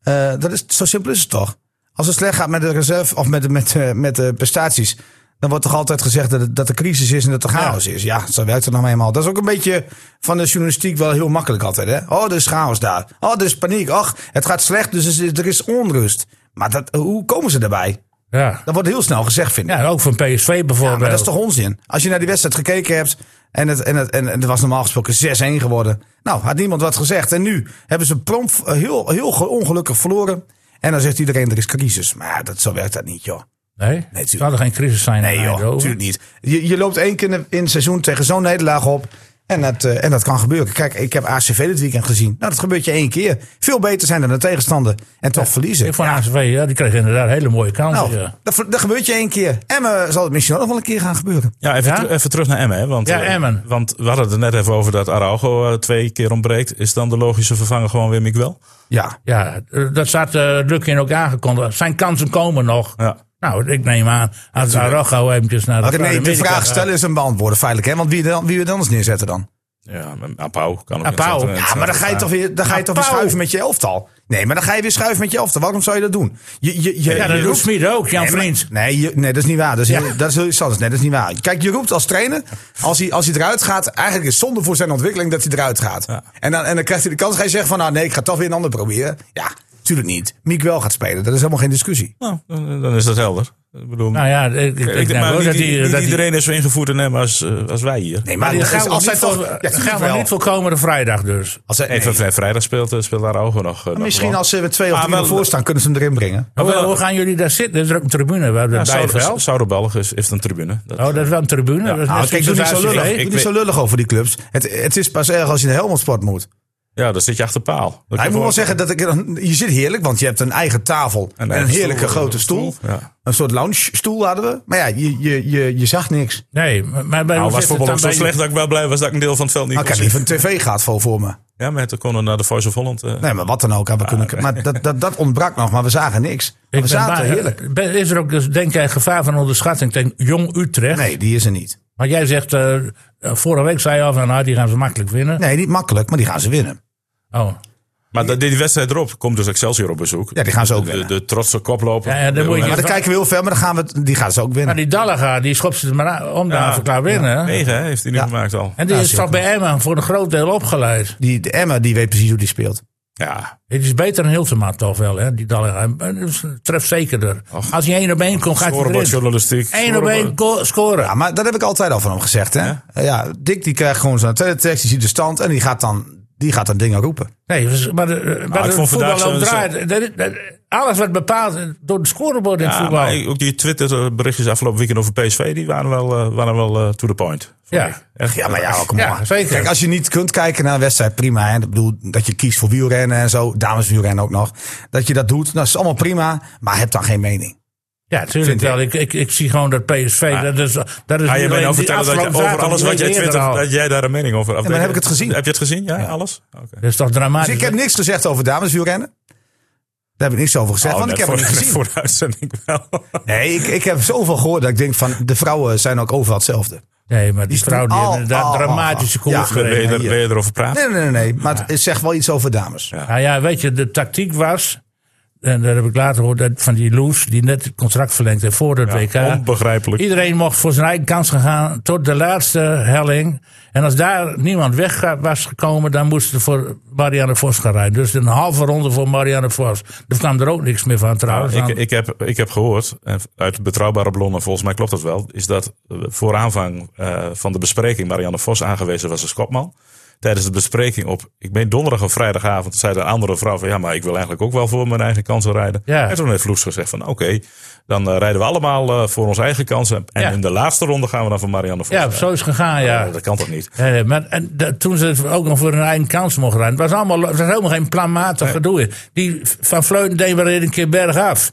A: Eh, dat is, zo simpel is het toch? Als het slecht gaat met de reserve of met, de- met, eh, met de prestaties, dan wordt toch altijd gezegd dat, het- dat de crisis is en dat er chaos is. Ja, zo werkt het nou eenmaal. Dat is ook een beetje van de journalistiek wel heel makkelijk altijd. Hè? Oh, er is chaos daar. Oh, er is paniek. Och, het gaat slecht, dus er is- er is onrust. Maar dat, hoe komen ze daarbij?
B: ja.
A: Dat wordt heel snel gezegd, vind ik.
B: ja, ook van PSV bijvoorbeeld.
A: Ja, maar dat is toch onzin? Als je naar die wedstrijd gekeken hebt en het, en het, en, en het was normaal gesproken 6-1 geworden. Nou, had niemand wat gezegd. En nu hebben ze prompt eh, heel, heel ge- ongelukkig verloren. En dan zegt iedereen, er is crisis. Maar ja, dat, zo werkt dat niet, joh.
B: nee,
A: tuurlijk.
B: het zou er geen crisis zijn.
A: Nee,
B: in
A: joh,
B: Eindhoven.
A: natuurlijk niet. Je, je loopt één keer in het seizoen tegen zo'n nederlaag op. En dat, eh, en dat kan gebeuren. Kijk, ik heb ACV dit weekend gezien. Nou, dat gebeurt je één keer. Veel beter zijn dan de tegenstander. En toch verliezen.
B: Ik vond ACV, ja, die kreeg inderdaad hele mooie kansen.
A: nou,
B: ja.
A: dat, dat gebeurt je één keer. En eh, zal het misschien ook nog wel een keer gaan gebeuren.
D: Ja, even,
B: Ja?
D: teru- even terug naar Emmen. hè, Want,
B: Ja,
D: eh,
B: Emmen.
D: Want we hadden het er net even over dat Araujo eh, twee keer ontbreekt. Is dan de logische vervanger gewoon weer Miguel?
A: Ja,
B: Ja, eh, dat staat eh Lukin ook aangekondigd. Zijn kansen komen nog.
D: Ja.
B: Nou, ik neem aan, als Araujo eventjes naar de
A: Oké, nee, de
B: Zuid-Amerika
A: vraag
B: gaat.
A: stellen is een beantwoorden, feitelijk. Hè? Want wie, dan, wie we dan eens neerzetten dan?
D: Ja, maar Apau kan ook.
B: Apau.
D: in het centrum- in het
A: Ja, maar dan ga je
D: centrum
A: toch weer, dan ga je toch weer
B: Pauw.
A: schuiven met je elftal. Nee, maar dan ga je weer schuiven met je elftal. Waarom zou je dat doen? Je, je, je,
B: Ja,
A: je
B: dat doet
A: roept-
B: Smit ook, Jan
A: Nee, maar-
B: Vriends.
A: Nee, je- nee, dat is niet waar. Dat is,
B: Ja.
A: heel, dat is heel iets anders. Nee, dat is niet waar. Kijk, je roept als trainer, als hij, als hij eruit gaat, eigenlijk is het zonde voor zijn ontwikkeling dat hij eruit gaat.
D: Ja.
A: En, dan, en dan krijgt hij de kans, ga je zeggen van, nou nee, ik ga toch weer een ander proberen. Ja, tuurlijk niet. Miek wel gaat spelen, dat is helemaal geen discussie.
D: Nou, dan, dan is dat helder. Ik bedoel,
B: Nou ja, ik, ik,
D: ik,
B: ik
D: denk
B: denk
D: maar
B: wel
D: niet,
B: dat
D: niet-
B: die...
D: niet
B: dat die-
D: iedereen is zo ingevoerd in hem als, eh, als wij hier.
A: Nee,
D: Nee,
A: maar,
B: die
A: dat is-
B: gaan we
A: als hij
B: niet
A: toch...
B: voor-
A: ja,
B: dat
A: tuurlijk
B: gaan we
A: wel.
B: niet voorkomen de vrijdag dus.
A: Als hij- nee.
D: vrijdag speelt, eh, speelt Araujo nog. eh, nog
A: Misschien
D: wel.
A: als ze met twee of
D: Ah,
A: drie
D: wel-
A: voor staan, kunnen ze hem erin brengen.
B: Hoe,
D: Oh, wel-
B: hoe gaan jullie daar zitten? Er is ook een tribune. Waar
D: Ja,
B: ja,
D: Sauer-
B: wel.
D: Sauerbalg is heeft een tribune. Dat,
B: Oh, dat is wel een tribune. Dat is
A: Nou,
B: net
A: kijk, doe
B: zoals
A: niet, zo
B: ACV.
A: lullig,
D: ik
A: doe niet
D: weet-
A: zo lullig over die clubs. Het, het is pas erg als je naar Helmond Sport moet.
D: ja, dan zit je achter paal.
A: Hij
D: Dat kan
A: moet wel
D: wel-
A: zeggen dat ik... Je zit heerlijk, want je hebt een eigen tafel en een,
D: eigen
A: heerlijke
D: stoel,
A: grote
D: een
A: stoel.
D: stoel, ja.
A: Een soort lounge-stoel hadden we. Maar ja, je, je, je, je zag niks.
B: Nee, maar- maar bij
D: Nou, was
B: hoe zit het
D: voetbal
B: dan
D: ook zo
B: bij-
D: slecht dat ik wel blij was dat ik een deel van het veld niet
A: Nou, ik
D: kon
A: heb
D: zien.
A: liever een tv gaat vol voor me.
D: Ja, maar toen konden we naar de Voice of Holland. eh.
A: Nee, maar wat dan ook. hadden we kunnen, maar dat, dat, dat ontbrak nog, maar we zagen niks.
B: Ik
A: we
B: ben
A: zaten
B: bang-
A: heerlijk.
B: ben- Is er ook, dus, denk jij, gevaar van onderschatting tegen Jong Utrecht?
A: Nee, die is er niet.
B: Maar jij zegt, eh, eh, vorige week zei je al van, nou, die gaan ze makkelijk winnen.
A: Nee, niet makkelijk, maar die gaan ze winnen.
B: Oh.
D: Maar dat- die wedstrijd erop komt dus Excelsior op bezoek.
A: Ja, die gaan ze ook
D: de,
A: winnen.
D: de trotse koploper.
B: Ja, ja, dan moet je-
A: Maar dan kijken we heel ver, maar dan gaan we, het- die gaan ze ook
B: Maar
A: winnen.
B: die Dallega, die schopt ze er maar aan- om de
D: Ja,
B: klaar winnen. hè?
D: 9 hè, heeft hij nu
A: Ja.
D: gemaakt al.
B: En die
A: Ja,
B: is toch bij Emma voor een groot deel opgeleid.
A: Die, de Emma, die weet precies hoe die speelt.
D: Ja,
B: Het is beter dan Hiltema toch wel, hè, die Dallega. Maar dat is- eh, Treft zekerder. Als hij één op één komt, gaat hij
D: scorebord
B: erin.
D: journalistiek.
B: Eén op
D: scorebord.
B: één go- scoren.
A: Ja, Nou, maar dat heb ik altijd al van hem gezegd. Hè? Eh, Ja? Dick die krijgt gewoon zo'n teletext, die ziet de stand en die gaat dan, die gaat dan dingen roepen.
B: Nee, dus- maar, de, maar
D: Nou, ik
B: het
D: vond vandaag
B: voetbal
D: zo'n-
B: omdraait. Dat- dat- Alles werd bepaald door het scorebord in het
D: Ja,
B: voetbal.
D: maar ook die Twitter eh, berichtjes afgelopen weekend over PSV, die waren wel, eh, waren wel eh, to the point. vond
B: Ja.
D: ik. Echt,
A: Ja, maar ja, ook
B: Ja,
A: maar.
B: zeker.
A: Kijk, als je niet kunt kijken naar een wedstrijd, prima. Hè? Ik bedoel, dat je kiest voor wielrennen en zo, dameswielrennen ook nog. Dat je dat doet, dat is allemaal prima, maar heb dan geen mening.
B: Ja, tuurlijk
A: Vind
B: wel. Ik, ik, ik zie gewoon dat PSV. dat is, dat is
D: Ga je
B: niet
D: mij
B: alleen
D: nou
B: die
D: vertellen dat je
B: afgelopen
D: over
B: zaterdag,
D: alles
B: die
D: wat jij
B: week eerder
D: twittert,
B: al.
D: dat jij daar een mening over hebt?
A: maar heb ik het gezien.
D: Heb je het gezien? Ja, alles? Oké.
B: Dat is toch
A: Dus
B: dramatisch.
A: ik heb niks gezegd over dameswielrennen. Daar heb ik niks over gezegd,
D: Oh,
A: want ik
D: net
A: heb het
D: voor-
A: niet gezien.
D: net Voor de uitzending wel.
A: Nee, ik, ik heb zoveel gehoord dat ik denk van, de vrouwen zijn ook overal hetzelfde.
B: Nee, maar die,
A: Die
B: vrouw die
A: stond
B: heeft
A: al-
B: inderdaad
A: al-
B: dramatische
A: al- ja.
B: koers
D: Wil je,
B: gereden.
D: er- wil je erover praten?
A: Nee, nee, nee. nee. Maar het zegt wel iets over dames.
B: Nou ja, weet je, de tactiek was... En dat heb ik later gehoord dat van die Loes, die net het contract verlengd heeft voor het WK.
D: Onbegrijpelijk.
B: Iedereen mocht voor zijn eigen kans gaan tot de laatste helling. En als daar niemand weg was gekomen, dan moesten ze voor Marianne Vos gaan rijden. Dus een halve ronde voor Marianne Vos. Er kwam er ook niks meer van trouwens.
D: Nou, Ik, ik,
B: Want-
D: heb, ik heb gehoord, en uit betrouwbare bronnen, volgens mij klopt dat wel, is dat eh, voor aanvang eh, van de bespreking Marianne Vos aangewezen was als kopman. Tijdens de bespreking op, ik meen donderdag of vrijdagavond, zei een andere vrouw van ja, maar ik wil eigenlijk ook wel voor mijn eigen kansen rijden.
B: Ja.
D: En toen heeft Loes gezegd van oké, dan eh, rijden we allemaal eh, voor onze eigen kansen. En
B: Ja.
D: in de laatste ronde gaan we dan voor Marianne Vos.
B: ja,
D: rijden. Oh,
B: zo is het gegaan, ja.
D: Dat kan toch niet?
B: Eh, maar, en dat- toen ze ook nog voor hun eigen kans mochten rijden. Het was, allemaal, het was helemaal geen planmatig gedoe. Die Van Vleuten deed maar een keer bergaf.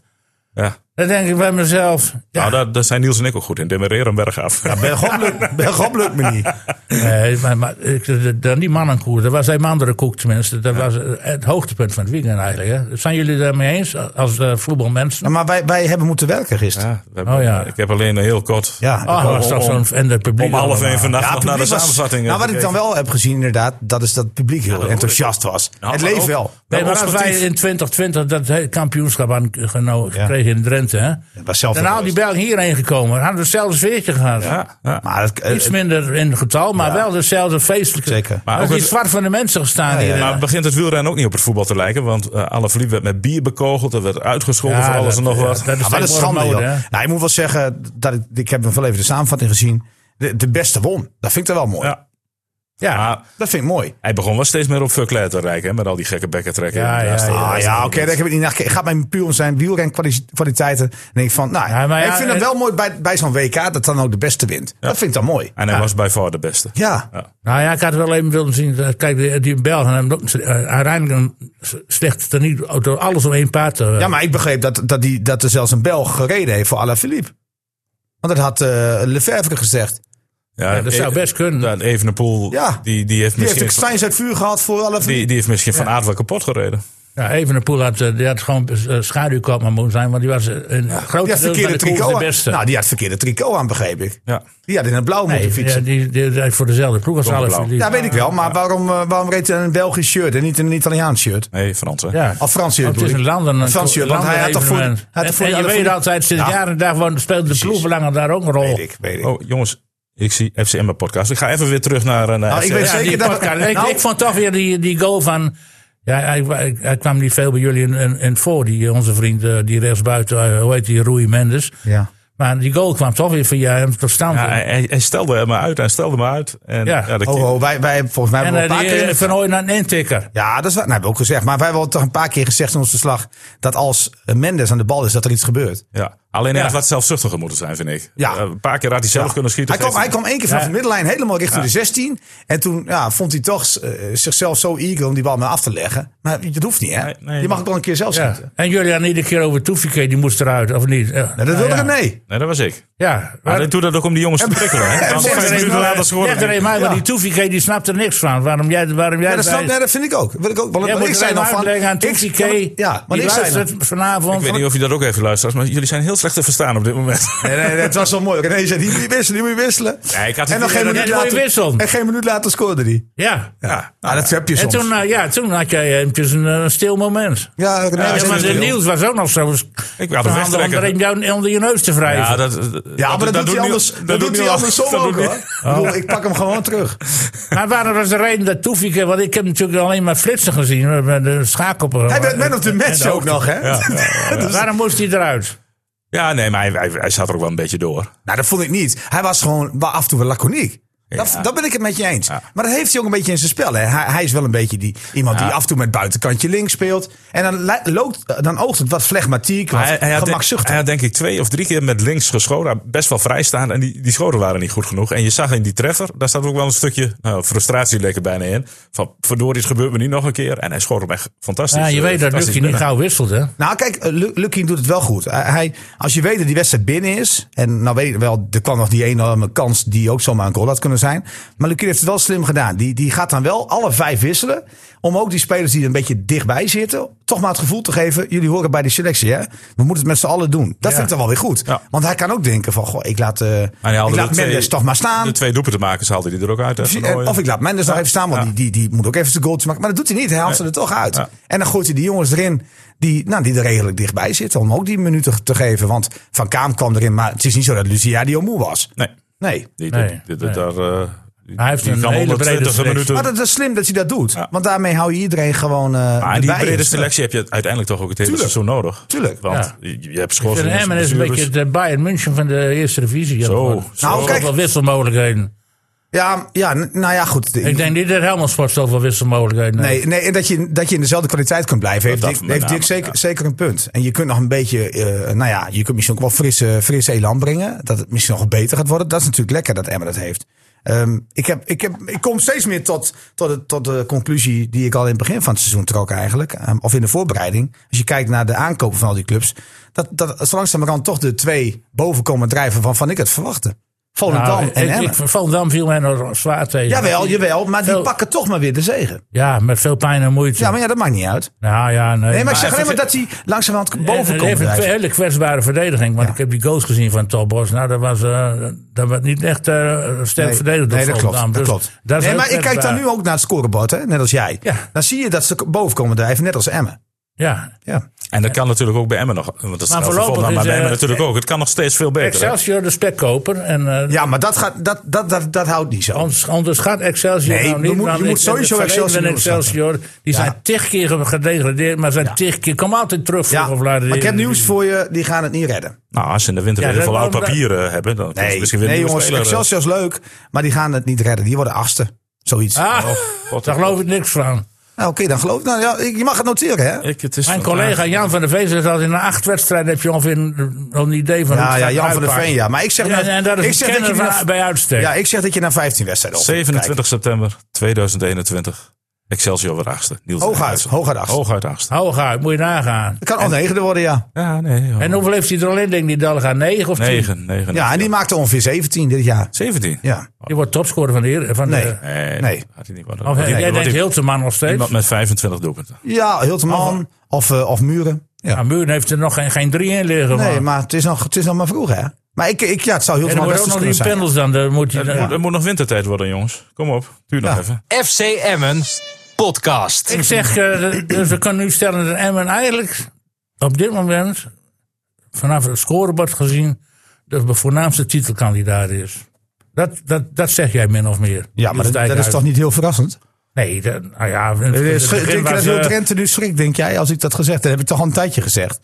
D: Ja.
B: Dan denk ik bij mezelf... Ja,
D: Nou, daar, daar zijn Niels en ik ook goed in. Demereren bergaf.
A: Bergop lukt- Bergop lukt me niet.
B: Nee, maar, maar ik- dan die mannenkoer, dat was een andere koek tenminste. Dat was eh, het hoogtepunt van het weekend eigenlijk. Hè. Zijn jullie daarmee eens als eh, voetbalmensen?
A: Nou, maar wij, wij hebben moeten werken gisteren.
D: Ja, we hebben-
B: Oh ja.
D: Ik heb alleen een heel kort.
A: Ja,
B: Ah,
D: om-
B: was dat
D: om-
B: zo'n- en het publiek.
D: Om half
B: allemaal.
D: één vannacht
A: Ja,
D: nog
A: het
D: naar de
A: publiek was-
D: samenvatting. eh,
A: Nou, wat ik dan
D: gekeken.
A: wel heb gezien inderdaad, dat is dat het publiek heel enthousiast was.
D: Nou,
A: het
D: maar
A: leeft
D: ook-
A: wel.
B: Nee, maar als
D: Sportief.
B: wij in 2020 dat he- kampioenschap aan geno-
A: Ja.
B: gekregen in Drenthe. Hè.
A: Het was zelf
B: Dan
A: wel
B: al die Belgen hierheen gekomen. Hadden we hetzelfde sfeertje gehad.
D: Ja, ja.
A: Maar het, eh,
B: Iets minder in getal, maar wel dezelfde feestelijke.
A: Zeker.
B: Maar
D: Maar
B: er is
D: ook
B: iets
D: het-
B: zwart van de mensen gestaan hier. hè.
D: Maar begint het wielrennen ook niet op het voetbal te lijken? Want eh Alaphilippe werd met bier bekogeld. Er werd uitgescholden
B: Ja,
D: voor alles en
B: dat-
D: nog
B: ja,
D: wat.
B: dat is
A: ja, eh, maar dat is
B: tegenwoordig
A: schande,
B: mode, hè.
A: joh. Nou, ik moet wel zeggen, dat ik, ik heb hem wel even de samenvatting gezien. De, de beste won. Dat vind ik dan wel mooi.
D: Ja.
B: Ja.
D: Maar
A: Dat vind ik mooi.
D: hij begon wel steeds meer op Verkleed te rijken. hè, Met al die gekke bekken trekken.
B: Ja, ja, ja.
A: Ah ja, oké, daar heb ik niet naar gekeken. Gaat mijn puur om zijn wielrenkwaliteiten. Dan denk ik van, nou,
B: Ja, maar ja,
A: ik vind
B: eh,
A: het wel mooi bij, bij zo'n WK dat dan ook de beste wint. Dat vind ik dan mooi.
D: En hij was bij far de beste.
A: Ja,
B: Nou ja, ik had wel even willen zien. eh, Kijk, die, die Belgen hebben ook, eh, uiteindelijk een s- slecht teniet door alles om één paard eh, te.
A: ja maar ik begreep dat, dat, die, dat er zelfs een Belg gereden heeft voor Alaphilippe. Want dat had eh Lefebvre gezegd.
B: Ja, dat zou best kunnen.
D: Ja, Evenepoel,
A: Ja.
D: die, die heeft
A: Die heeft
D: misschien,
A: ik Steins uit vuur gehad voor Alaphilippe.
D: die, die heeft misschien van aard wel kapot gereden.
B: Ja, Evenepoel had, eh, die had gewoon eh, schaduwkoopman moeten zijn, want die was eh, een groot
A: Die had
B: deel van
A: verkeerde
B: de koers de
A: tricot
B: beste.
A: aan. Nou, die had verkeerde tricot aan, begreep ik.
D: Ja.
A: Die had in het blauw
B: nee,
A: moeten
B: ja,
A: fietsen.
B: die,
A: Ja,
B: die, rijdt voor dezelfde ploeg als
D: Donkerblauw.
B: Alaphilippe.
A: weet ik wel. Maar waarom, eh, waarom reed hij een Belgisch shirt en niet een Italiaans shirt?
D: Nee, Frans. hè?
B: Ja.
A: Of Frans shirt
B: Oh, Het is
A: bedoel
B: een
A: ik.
B: landen. Een
A: Frans shirt, want hij had toch voor-
B: landenevenement.
A: hij had
B: En-
A: voor
B: en je
A: Alaphilippe-
B: weet altijd, sinds
A: Ja.
B: jaren daarvan speelt de ploegbelangen daar ook een rol.
A: Weet ik, weet ik.
D: Oh, jongens. Ik zie FCM podcast. Ik ga even weer terug naar... eh, naar
A: Nou, ik
D: FCM.
A: weet
B: Ja,
A: zeker
B: die
A: dat-
B: podcast. Ik,
A: Nou-
B: ik vond toch weer die, die goal van. Ja, hij, hij, hij kwam niet veel bij jullie in, in, in voor, die, eh, onze vriend, eh, die rechtsbuiten, eh, hoe heet die, Rui Mendes.
A: Ja.
B: Maar die goal kwam toch weer via hem tot stand.
D: Ja, hij, hij- hij stelde me uit, hij stelde me uit. En,
B: Ja.
D: ja. dat
A: Oh, oh, wij, wij hebben volgens mij
B: en
A: wel een
B: eh,
A: paar
B: die eh,
A: keer...
B: van Hooyen een intikker.
A: Ja, dat is waar. Nou, hebben we ook gezegd. Maar wij hebben al toch een paar keer gezegd in ons verslag... dat als eh, Mendes aan de bal is, dat er iets gebeurt.
D: ja. Alleen hij
B: Ja.
D: had wat zelfzuchtiger moeten zijn, vind ik.
A: Ja.
D: Eh, Een paar keer had hij zelf kunnen schieten.
A: Hij kwam,
D: Geeft-
A: hij kwam één keer vanaf de middenlijn helemaal richting de 16. En toen ja, vond hij toch eh, zichzelf zo eager om die bal maar af te leggen. Maar dat hoeft niet, hè?
D: Nee, nee,
A: je mag
D: ja.
A: ook wel een keer zelf
B: Ja.
A: schieten.
B: En jullie hadden iedere keer over Toefike, die moest eruit, of niet? Ja.
A: Nou, dat wilde
B: ja.
A: René. nee.
D: Nee, dat was ik.
B: Ja,
D: Maar
B: maar
D: hij doet dat ook om die jongens te prikkelen. hè? Want
A: zeg
D: vijf
A: er
D: minuten
A: even-
D: later scoorde
B: Leg er
D: hij.
B: even uit, want
A: Ja.
B: die Toefike die snapt er niks van. Waarom jij, waarom jij
A: Ja, dat,
B: erbij-
A: snap, nee, dat vind ik ook. Wil ik ook. Want
B: Jij
A: want
B: moet
A: ik
B: er
A: zei
B: even
A: nog van.
B: uitleggen aan
A: ik-
B: Toefike.
A: Ja, maar
B: die
A: ik zei
B: luistert
A: nog-
B: vanavond.
D: Ik weet niet of je dat ook even luistert, maar jullie zijn heel slecht te verstaan op dit moment.
A: Nee, nee, nee, het was wel mooi. René zei, die moet je wisselen, die moet je wisselen.
D: Ja, ik had het
A: en dan
D: idee
A: geen
D: dat-
A: minuut
B: Ja, die moet je
A: later,
B: wisselen.
A: en geen minuut later scoorde hij.
B: Ja.
D: Ja.
A: Nou, dat heb je
B: En
A: soms.
B: toen, eh, ja, toen had jij eventjes een, eh, stil moment.
A: ja, René
B: Ja,
A: was
B: maar
A: even
B: de
A: stil.
B: Niels was ook nog zo.
D: Ik had
B: Van
D: hem
B: handen om er
D: wegtrekken.
B: een jou- onder je neus te wrijven.
D: Ja, dat,
A: Ja, maar dat, doet hij anders, dat doet hij andersom ook, hoor. Ik bedoel, Ik pak hem gewoon terug.
B: Maar waarom was de reden dat Toefike... Want ik heb natuurlijk alleen maar flitsen gezien. eh, Met de schakel.
A: Hij werd man of the match ook nog, hè? dus-
B: Waarom moest hij eruit?
D: Ja, nee, maar hij, hij, hij zat er ook wel een beetje door.
A: Nou, dat vond ik niet. Hij was gewoon wel af en toe wel laconiek. Dat,
D: Ja.
A: dat ben ik het met je eens. Maar dat heeft hij ook een beetje in zijn spel. Hè? Hij, hij is wel een beetje die, iemand die af en toe met buitenkantje links speelt. En dan, li- loopt, dan oogt het wat flegmatiek, wat
D: Hij, hij, had,
A: gemakzuchtig.
D: hij had denk ik twee of drie keer met links geschoten. Hij had Best wel vrijstaan. En die, die schoten waren niet goed genoeg. En je zag in die treffer, daar staat ook wel een stukje nou, frustratie lekker bijna in. Van verdorie, dit gebeurt me niet nog een keer. En hij schoot hem echt fantastisch.
B: Ja, je
D: eh,
B: weet dat
D: fantastisch
B: Lucky niet
D: binnen.
B: gauw wisselt, hè?
A: Nou, kijk, eh, Lu- Lucky doet het wel goed. Hij- Hij, als je weet dat die wedstrijd binnen is. En nou weet ik wel, er kwam nog die enorme kans die ook zomaar een goal had kunnen zijn. Maar Luc heeft het wel slim gedaan. Die, die gaat dan wel alle vijf wisselen. Om ook die spelers die er een beetje dichtbij zitten. toch maar het gevoel te geven. jullie horen bij die selectie, hè? We moeten het met z'n allen doen. Dat vind ik dan wel weer goed.
D: Ja.
A: Want hij kan ook denken: van, goh, ik laat, eh ik
D: hij haalde
A: laat
D: de twee-
A: Mendes toch maar staan.
D: De twee doelpuntenmakers haalde hij er ook uit. hè,
A: Precies,
D: Van Nooijen.
A: eh, Of ik laat Mendes nog even staan, want
D: Ja.
A: die, die, die moet ook even zijn goaltje maken. Maar dat doet hij niet, hij haalt ze er toch uit.
D: Ja.
A: En dan gooit hij die jongens erin die, nou, die er redelijk dichtbij zitten. Om ook die minuten te geven. Want Van Kaam kwam erin, maar het is niet zo dat Lucia die al moe was.
D: Nee,
A: Nee.
D: die,
B: Nee,
D: die- die-
B: nee.
D: Daar, eh, die-
B: Hij heeft
D: die
B: een
D: kan
B: hele brede
D: 120
B: selectie.
D: minuten.
A: Maar dat is slim dat hij dat doet.
D: Ja.
A: Want daarmee hou je iedereen gewoon eh
D: Maar die
A: erbij.
D: brede selectie heb je uiteindelijk toch ook het hele
A: Tuurlijk.
D: seizoen nodig.
A: Tuurlijk.
D: Want
B: Ja.
D: je, je hebt
B: En
D: schorsingen.
B: Emmen is een
D: blessures.
B: beetje de Bayern München van de eerste divisie.
D: Zo,
B: Nou,
D: zo.
A: Nou, kijk.
B: Zoveel wisselmogelijkheden.
A: Ja, ja, n- nou ja, goed.
B: Ik denk niet dat Helmond Sport zoveel wisselmogelijkheden heeft.
A: Nee, nee, en dat je, dat je in dezelfde kwaliteit kunt blijven, heeft,
D: Dat
A: Dick,
D: met
A: heeft
D: name,
A: Dick zeker,
D: ja.
A: zeker een punt. En je kunt nog een beetje, eh, nou ja, je kunt misschien ook wel fris, eh, fris elan brengen. Dat het misschien nog beter gaat worden. Dat is natuurlijk lekker dat Emma dat heeft. Ehm, ik, heb, ik, heb, ik kom steeds meer tot, tot, het, tot de conclusie die ik al in het begin van het seizoen trok eigenlijk. Ehm, of in de voorbereiding. Als je kijkt naar de aankopen van al die clubs. Dat, dat zo langzamerhand toch de twee boven komen drijven van van ik het verwachtte. Volendam
B: Nou,
A: en
B: ik-
A: Emmen.
B: ik- Volendam viel mij nog zwaar tegen.
A: Jawel, jawel. Maar die
B: Veel-
A: pakken toch maar weer de zegen.
B: Ja, met veel pijn en moeite.
A: Ja, maar ja, dat maakt niet uit.
B: Nou ja, nee.
A: Nee, maar ik zeg alleen
B: even- Eh,
A: maar dat hij langzamerhand boven
B: Het
A: komt.
B: heeft een
A: drijven.
B: hele kwetsbare verdediging. Want
A: Ja.
B: ik heb die goals gezien van Topos. Nou, dat was, eh, dat was niet echt eh, sterk
A: Nee,
B: verdedigd. door
A: nee, dat klopt.
B: Volendam.
A: Dat
B: Dus
A: klopt.
B: dat is
A: nee,
B: heel
A: maar ik kijk dan
B: kwetsbaar.
A: nu ook naar het scorebord, hè? net als jij.
B: Ja.
A: Dan zie je dat ze boven komen drijven, net als Emmen.
B: Ja.
A: Ja.
D: En dat kan natuurlijk ook bij Emmen nog. Want dat is
B: Maar
D: nou voor
B: voorlopig
D: Volendam,
B: is,
D: maar bij Emmen
B: eh,
D: natuurlijk ook. Het kan nog steeds veel beter. hè.
B: Excelsior, de spekkoper. En, eh,
A: eh, ja, maar dat, gaat, dat, dat, dat, dat houdt niet zo.
B: Anders, anders gaat Excelsior
A: Nee,
B: nou
A: je
B: niet.
A: moet- je
B: want
A: moet
B: ik-
A: sowieso
B: het verleden
A: Excelsior
B: van
A: onderschatten.
B: Excelsior, die
A: Ja.
B: zijn tig keer gedegradeerd, maar zijn tig keer... Kom altijd terug
A: Ja.
B: vroeg of laat.
A: Maar ik heb nieuws voor je, die gaan het niet redden.
D: Nou, als ze in de winter
B: Ja,
D: weer heel
B: dat-
D: veel oud
B: waarom-
D: papier eh, hebben, dan kunnen ze
A: Nee,
D: misschien weer
A: nee
D: nieuwe
A: jongens,
D: spelers, eh,
A: Excelsior is leuk, maar die gaan het niet redden. Die worden achtste, zoiets.
B: Ah,
D: God,
B: daar geloof ik niks van.
A: Nou, Oké, dan geloof ik. Nou, ja, ik- je mag het noteren, hè?
D: Ik, het is
B: Mijn
D: vandaag-
B: collega Jan van der Veen zegt dat in een acht wedstrijden heb je ongeveer een, al een idee van hoe
A: Ja,
B: het
A: ja,
B: gaat
A: Jan van der
B: uitpakken.
A: Veen, ja. Maar ik zeg, nou-
B: En, en dat is
A: ik
B: een
A: zeg dat je
B: kenner
A: die
B: van-
A: naar-
B: bij uitstek.
A: ja, ik zeg dat je naar 15 wedstrijden op moet
D: 27 september 2021. Excelsior weer achtste. Niels
A: kijken. Hooguit,
D: Nijhuis.
A: hooguit achtste.
D: Hooguit achtste. Ah,
B: Hou gaan, moet je nagaan.
A: Het kan al negende worden, ja.
D: Ja, nee.
B: En hoeveel heeft hij er al in, denk ik, die Dalga? 9 of 10?
D: 9, 9.
A: Ja, en die maakte ongeveer 17 dit jaar.
D: 17?
A: Ja,
B: Die wordt topscorer van de... heer- Van
A: Nee.
B: de
D: Nee,
A: Nee.
D: had hij niet worden.
B: of, eh,
D: Had hij-
B: jij
D: wordt
B: denkt
D: hij-
B: Hilteman nog steeds.
D: Iemand met 25 doelpunten.
A: ja Hilteman of, eh, of Muren. Ja.
B: Ja, Nou, Muren heeft er nog geen, geen drie in liggen. man.
A: Nee, maar het is nog, het is nog maar vroeg, hè? Maar ik, ik, ja, het zou heel
B: En er
A: veel
B: wordt ook
A: best
B: nog
A: kunnen
B: die
A: zijn.
B: panels dan. dan moet je,
D: Het moet, het moet nog wintertijd worden, jongens. Kom op, duur nog
A: Ja.
D: even.
C: FC Emmen podcast.
B: Ik zeg, eh, dus we kunnen nu stellen dat Emmen eigenlijk op dit moment, vanaf het scorebord gezien, de voornaamste titelkandidaat is. Dat, dat, dat zeg jij min of meer.
A: Ja, maar
B: Dus
A: dat, dat is
B: Dijkhuis.
A: toch niet heel verrassend?
B: Nee, dat, nou ja. in
A: Eh,
B: het
A: schri-
B: begin
A: Denk je dat
B: was,
A: heel
B: eh,
A: Drenthe nu schrikt, denk jij, als ik dat gezegd heb? Dat heb ik toch al een tijdje gezegd.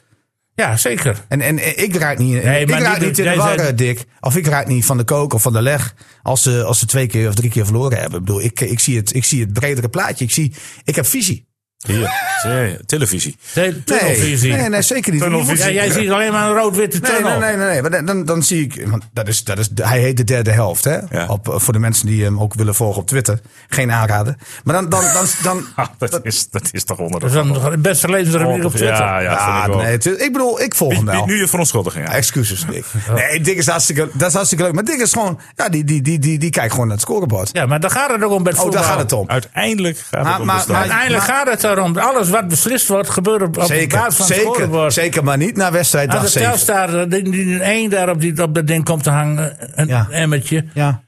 B: Ja, zeker.
A: En, en eh, ik raak niet,
B: Nee,
A: ik
B: maar
A: raak
B: niet-
A: niet in de
B: jij
A: war,
B: zei-
A: eh, Dick. Of ik raak niet van de kook of van de leg als ze, als ze twee keer of drie keer verloren hebben. Ik bedoel, ik, ik, zie, het, ik zie het bredere plaatje. Ik, zie, ik heb visie.
D: Hier, zie je, televisie.
B: De
A: Nee,
B: tunnelvisie.
A: nee, nee, zeker niet.
D: Tunnelvisie.
B: Ja, jij ziet alleen maar een rood-witte
A: Nee, nee,
B: tunnel.
A: nee, nee, nee. Maar dan- dan, dan zie ik. Want dat is, dat is, hij heet de derde helft. Hè?
D: Ja.
A: Op, eh, voor de mensen die hem ook willen volgen op Twitter. Geen aanraden. Maar dan. dan, dan, dan,
D: Ah, dat, is, dat is toch onder de
B: Dat is dan de beste levensrubriek op Twitter.
D: Ja, ja, vind
A: Ah,
D: ik wel.
A: nee, het is- ik bedoel, ik volg
D: Bied-
A: hem
D: bied
A: wel. Ah,
D: nu je verontschuldiging aan.
A: Excuses, Dick. Nee, Dick is hartstikke, dat is hartstikke leuk. Maar Dick is gewoon. Ja, die, die, die, die, die kijkt gewoon naar het scorebord.
B: Ja, maar daar gaat het ook om bij het
A: oh, daar
B: voetbal.
A: gaat het om.
D: Uiteindelijk gaat
A: Maar-
D: het om
A: maar-
D: bestaan.
A: maar-
B: Uiteindelijk gaat het erom. Alles wat beslist wordt, gebeurt op, op de
A: Zeker,
B: basis van het
A: zeker,
B: scorebord.
A: zeker. Maar niet naar wedstrijd dag
B: Als de
A: 7.
B: Telstar eh, die, die één daar op, die, op dat ding komt te hangen, een
A: Ja.
B: emmertje.
A: Ja.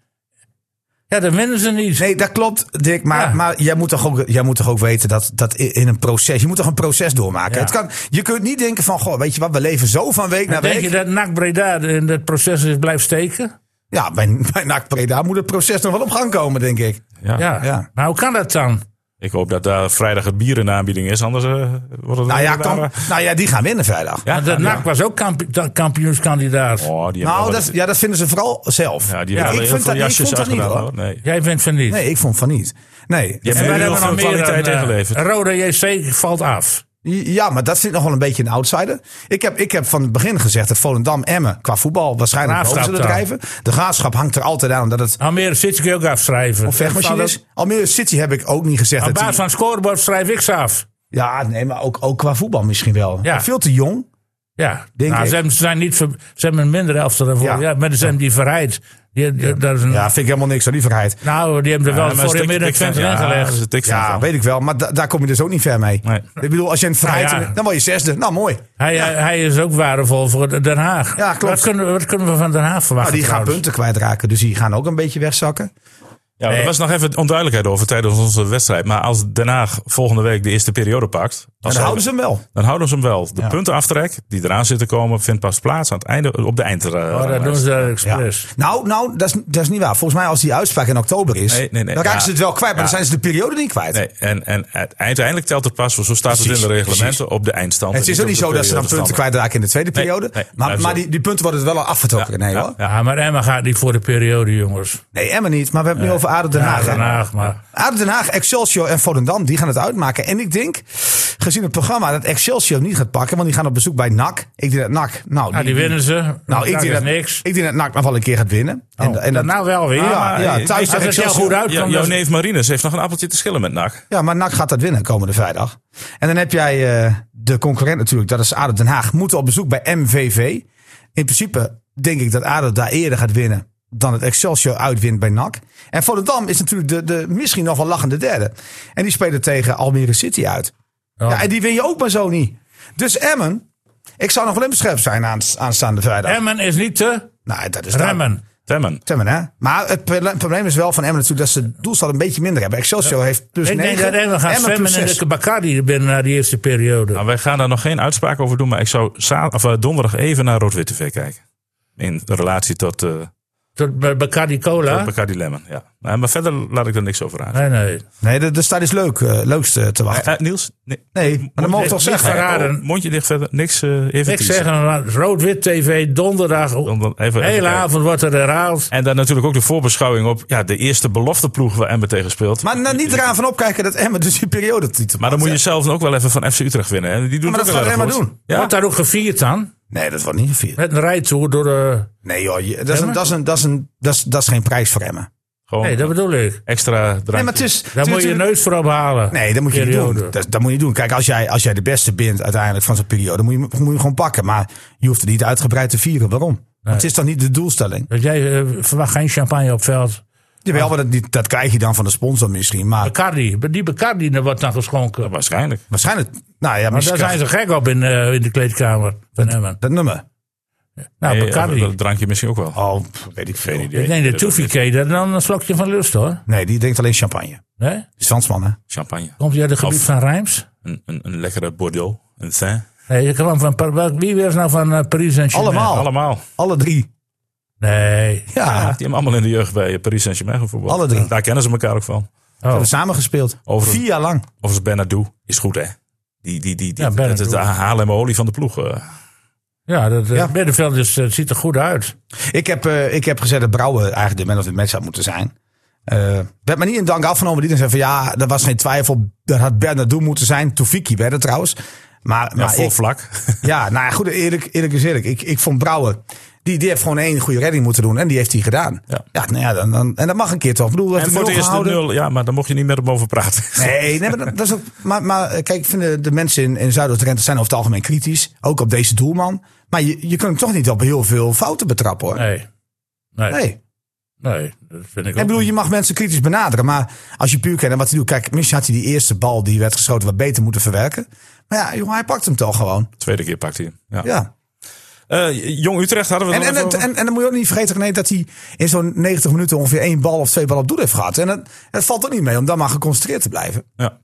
B: Ja, dan winnen ze niet.
A: Nee, dat klopt, Dick. Maar,
B: Ja.
A: maar jij, moet toch ook, jij moet toch ook weten dat, dat i- in een proces. Je moet toch een proces doormaken.
B: Ja.
A: Het kan, je kunt niet denken van. Goh, weet je wat, we leven zo van week naar
B: Denk
A: week.
B: je dat NAC Breda in dat proces is blijft steken?
A: Ja, bij, bij NAC Breda moet het proces nog wel op gang komen, denk ik.
D: ja.
B: Ja.
A: Ja.
B: Maar hoe kan dat dan?
D: Ik hoop dat daar vrijdag het bier in de aanbieding is, anders eh, wordt het...
A: Nou ja,
D: een rare-
A: kan, nou ja, die gaan winnen vrijdag.
D: Ja,
B: Want dat NAC was ook kamp- da- kampioenskandidaat.
D: Oh, die
A: nou,
D: hebben
A: dat,
D: wel-
A: ja, dat vinden ze vooral zelf.
D: ja, die
A: ik,
D: hebben wel heel
A: vind dat,
D: veel
A: ik
D: jasjes
A: vond dat niet
D: uitgedaan.
A: hoor.
D: hoor. Nee.
B: Jij vindt van niet.
A: Nee, ik vond van niet. Nee.
D: Je
A: Ja,
D: hebt
B: En wij
D: heel
B: hebben
D: veel
B: nog meer
D: kwaliteit
B: dan, eh,
D: ingeleverd.
B: Roda JC valt af.
A: maar dat vind ik nog wel een beetje een outsider. Ik heb, ik heb van het begin gezegd dat Volendam Emmen qua voetbal waarschijnlijk boven
B: Graafschap
A: zullen
B: dan.
A: drijven. De graafschap hangt er altijd aan omdat het
B: Almere City kun je ook afschrijven.
A: een vechtmachine
B: Dat-
A: is. Almere City heb ik ook niet gezegd.
B: Op
A: dat
B: basis
A: die-
B: van het scorebord schrijf ik ze af.
A: ja, nee, maar ook, ook qua voetbal misschien wel.
B: Ja.
A: Veel te jong.
B: Ja,
A: Denk
B: nou,
A: ik.
B: ze, hebben, ze zijn niet ver- ze hebben een minder elftal dan vorig
A: Ja.
B: jaar, maar ze hebben die verheid. Die, die- dat is een-
A: Ja, vind ik helemaal niks aan lieverheid.
B: Nou, die hebben er wel
D: maar
B: voor
D: dat is
B: in
D: dik-
B: midden
D: dik
B: Twente
D: van- ja,
B: ingelegd.
D: dat is een tik van
A: Ja,
D: van.
A: weet ik wel. Maar da- daar kom je dus ook niet ver mee.
D: Nee.
A: Ik bedoel, als je een vrijheid...
B: Nou ja.
A: Dan word je zesde. Nou, mooi.
B: Hij, eh, hij is ook waardevol voor de- Den Haag.
A: Ja, klopt.
B: Wat kunnen, we- wat kunnen we van Den Haag
A: Nou,
B: verwachten?
A: die gaan
B: trouwens?
A: punten kwijtraken. Dus die gaan ook een beetje wegzakken.
D: Ja, maar er was nog even onduidelijkheid over tijdens onze wedstrijd. Maar als Den Haag volgende week de eerste periode pakt...
A: Maar
D: Dan, zal-
A: dan houden ze hem wel.
D: dan houden ze hem wel. De puntenaftrek die eraan zit te komen... vindt pas plaats aan het einde, op de eind. eh,
B: Oh, dat doen ze
A: Ja.
B: expres.
A: Nou, nou dat, is, dat is niet waar. Volgens mij als die uitspraak in oktober is...
D: Nee, nee, nee.
A: dan raken
D: Ja.
A: ze het wel kwijt. Maar
D: Ja.
A: dan zijn ze de periode niet kwijt.
D: Nee, en, en het- uiteindelijk telt het pas, want zo staat
A: Precies,
D: het in de reglementen, op de eindstand. Dus
A: Het is ook
D: op
A: niet
D: de
A: zo dat ze dan punten
D: periodestanden.
A: kwijtraken in de tweede periode.
D: nee,
A: maar
D: blijven
A: maar
D: zo.
A: die, die punten worden er wel al afgetrokken. nee
D: Ja,
A: hoor.
B: Ja, maar Emma gaat niet voor de periode, jongens.
A: Nee, Emma niet. Maar we hebben het nu over Adel Den
B: Ja,
A: Haag. hè?
B: Den Haag, maar.
A: ADO Den Haag, Excelsior en Volendam, die gaan het uitmaken. En ik denk, gezien het programma, dat Excelsior niet gaat pakken. Want die gaan op bezoek bij NAC. Ik denk dat NAC... Nou,
B: Ja, Ah, die winnen ze.
A: Nou, ik denk,
B: is
A: dat,
B: niks.
A: ik denk dat NAC nog wel een keer gaat winnen. En,
B: En,
A: dat-
B: nou wel weer.
A: ja,
B: maar
A: ja, thuis
B: als
A: tegen
B: het heel
A: Excelsior.
B: goed dus-
D: Ja,
B: uitkomt.
D: jouw
B: dan-
D: neef Marines heeft nog een appeltje te schillen met NAC.
A: Ja, maar NAC gaat dat winnen komende vrijdag. En dan heb jij eh, de concurrent natuurlijk, dat is ADO Den Haag. Moeten op bezoek bij MVV. In principe denk ik dat ADO daar eerder gaat winnen dan het Excelsior uitwint bij NAC. En Volendam is natuurlijk de, de misschien nog wel lachende derde. En die spelen tegen Almere City uit.
B: Ja.
A: Ja, en die win je ook maar zo niet. Dus Emmen, ik zou nog wel in scherp zijn aan, aanstaande vrijdag.
B: Emmen is niet te
A: nou, dat is daar-
B: remmen.
D: Temmen.
A: Temmen, hè? Maar het prole- probleem is wel van Emmen natuurlijk dat ze het doelstelling een beetje minder hebben. Excelsior heeft plus
B: ik
A: 9.
B: denk dat Emmen gaat zwemmen
A: plus
B: in
A: zes.
B: de Bacardi binnen na die eerste periode.
D: Nou, wij gaan daar nog geen uitspraak over doen, maar ik zou za- of, eh, donderdag even naar Rood-Wit TV kijken. In relatie tot, eh
B: Tot bij Bacardi Cola.
D: tot Bacardi Lemon. Ja. Nou, Maar verder laat ik er niks over aan.
B: Nee, nee.
A: Nee, de, de staat is leuk, eh, leukste te wachten.
D: Eh, Niels? Nee.
A: Nee, maar dat mogen we toch
B: Niet
A: zeggen.
B: verraden.
D: Oh, mondje dicht verder. Niks eh even
B: Ik
D: teasen.
B: zeg hem, maar, rood-wit TV, donderdag.
D: Dan- dan even- even
B: De hele
D: kijken.
B: avond wordt er herhaald.
D: En dan natuurlijk ook de voorbeschouwing op ja, de eerste belofteploeg waar Emmen tegen speelt.
A: Maar nou, niet eraan van opkijken dat Emmen dus die periode titel.
D: Maar dan moet je zelf ook wel even van FC Utrecht winnen. Hè? Die doen
A: Maar
D: het
A: dat
D: ook
A: gaat
D: wel
A: Emmen
D: erg goed.
A: doen.
D: Ja.
B: Wordt daar ook gevierd dan?
A: Nee, dat wordt niet gevierd.
B: Met een rijtoer door eh, de...
A: Nee joh, je- dat is, een, dat, is een, dat, is een, dat, is, dat is geen prijs voor Emmen.
D: Gewoon
B: Nee, dat bedoel ik.
D: extra drankje.
A: Nee, maar het is... het
B: Daar
A: is
B: moet je je
A: natuurlijk-
B: neus voor ophalen.
A: Nee, dat moet je niet
B: Periode.
A: doen. Dat, dat moet je niet doen. Kijk, als jij, als jij de beste bent uiteindelijk van zo'n periode, moet je, moet je hem gewoon pakken. Maar je hoeft het niet uitgebreid te vieren. Waarom? Want het is dan niet de doelstelling.
B: Dat jij eh, verwacht geen champagne op veld.
A: Jawel, maar dat, niet- dat krijg je dan van de sponsor misschien. Maar
B: Bacardi, die Bacardi er wordt dan geschonken. Maar
D: Waarschijnlijk.
A: waarschijnlijk... Nou ja,
B: daar
A: misschien
B: zijn
A: krijg-
B: ze gek op in, eh, in de kleedkamer van Emmen.
A: dat nummer.
B: Nou,
D: Nee,
B: Bacardi.
D: dat drankje misschien ook wel.
A: Oh, pff, weet ik
D: Geen
A: veel.
D: idee.
B: ik denk dat Toefie dat dan een slokje van lust hoor.
A: Nee, die denkt alleen champagne.
B: Nee?
A: Die Stansman, hè?
D: Champagne.
B: Komt hij uit het gebied
D: Of-
B: van Rijms?
D: Een, een, een lekkere Bordeaux. Een Saint.
B: Nee, je kwam van, Par- welk- wie was nou van eh, Paris Saint-Germain?
A: Allemaal. Oh.
D: Allemaal.
A: Alle drie.
B: Nee.
A: Ja,
D: Ja, die hebben allemaal in de jeugd bij eh, Paris Saint-Germain gevoetbald.
A: Alle drie.
D: Daar kennen ze elkaar ook van.
B: Oh.
A: hebben we samen gespeeld.
D: Over-
A: Vier jaar lang.
D: Overigens, Bernardo is goed, hè? Die, die, die, die,
B: Ja,
D: het,
B: Bernardo.
D: het Haarlem olie van de ploeg. eh.
B: Ja, dat eh,
A: Ja.
B: middenveld is, eh, ziet er goed uit.
A: Ik heb, eh, ik heb gezegd dat Brouwer eigenlijk de man of the match had moeten zijn. Eh werd me niet in dank afgenomen. Die dan zei van ja, er was geen twijfel. Dat had Bernardo moeten zijn. Toefiki werd het trouwens. Maar,
D: ja,
A: maar
D: vol
A: ik-
D: vlak.
A: ja, nou ja, goed, eerlijk, eerlijk is eerlijk. Ik, ik vond Brouwer, die, die heeft gewoon één goede redding moeten doen. En die heeft hij gedaan. Ja,
D: Ja.
A: nou ja, dan, dan, en dat mag een keer toch. Ik bedoel, we
D: en
A: hebben
D: voor het
A: nul
D: eerst de
A: gehouden.
D: nul. Ja, maar daar mocht je niet meer op over praten.
A: Nee, nee maar, dat, dat is ook, maar, maar eh, kijk, ik vind de, de mensen in, in Zuid-Oost-Drenthe zijn over het algemeen kritisch. Ook op deze doelman. Maar je, je kunt hem toch niet op heel veel fouten betrappen hoor.
B: Nee. Nee.
A: Nee.
B: Nee, dat vind ik ook.
A: Ik bedoel, je mag mensen kritisch benaderen. Maar als je puur kent en wat hij doet. Kijk, misschien had hij die eerste bal die werd geschoten wat beter moeten verwerken. Maar ja, jongen, hij pakt hem toch gewoon.
D: Tweede keer pakt hij hem. Ja.
A: Ja.
D: Eh, Jong Utrecht hadden we
A: En,
D: het
A: en,
D: nog
A: en,
D: even over.
A: en, en dan moet je ook niet vergeten nee, dat hij in zo'n 90 minuten ongeveer één bal of twee bal op doel heeft gehad. En dat, het valt ook niet mee om dan maar geconcentreerd te blijven.
D: Ja.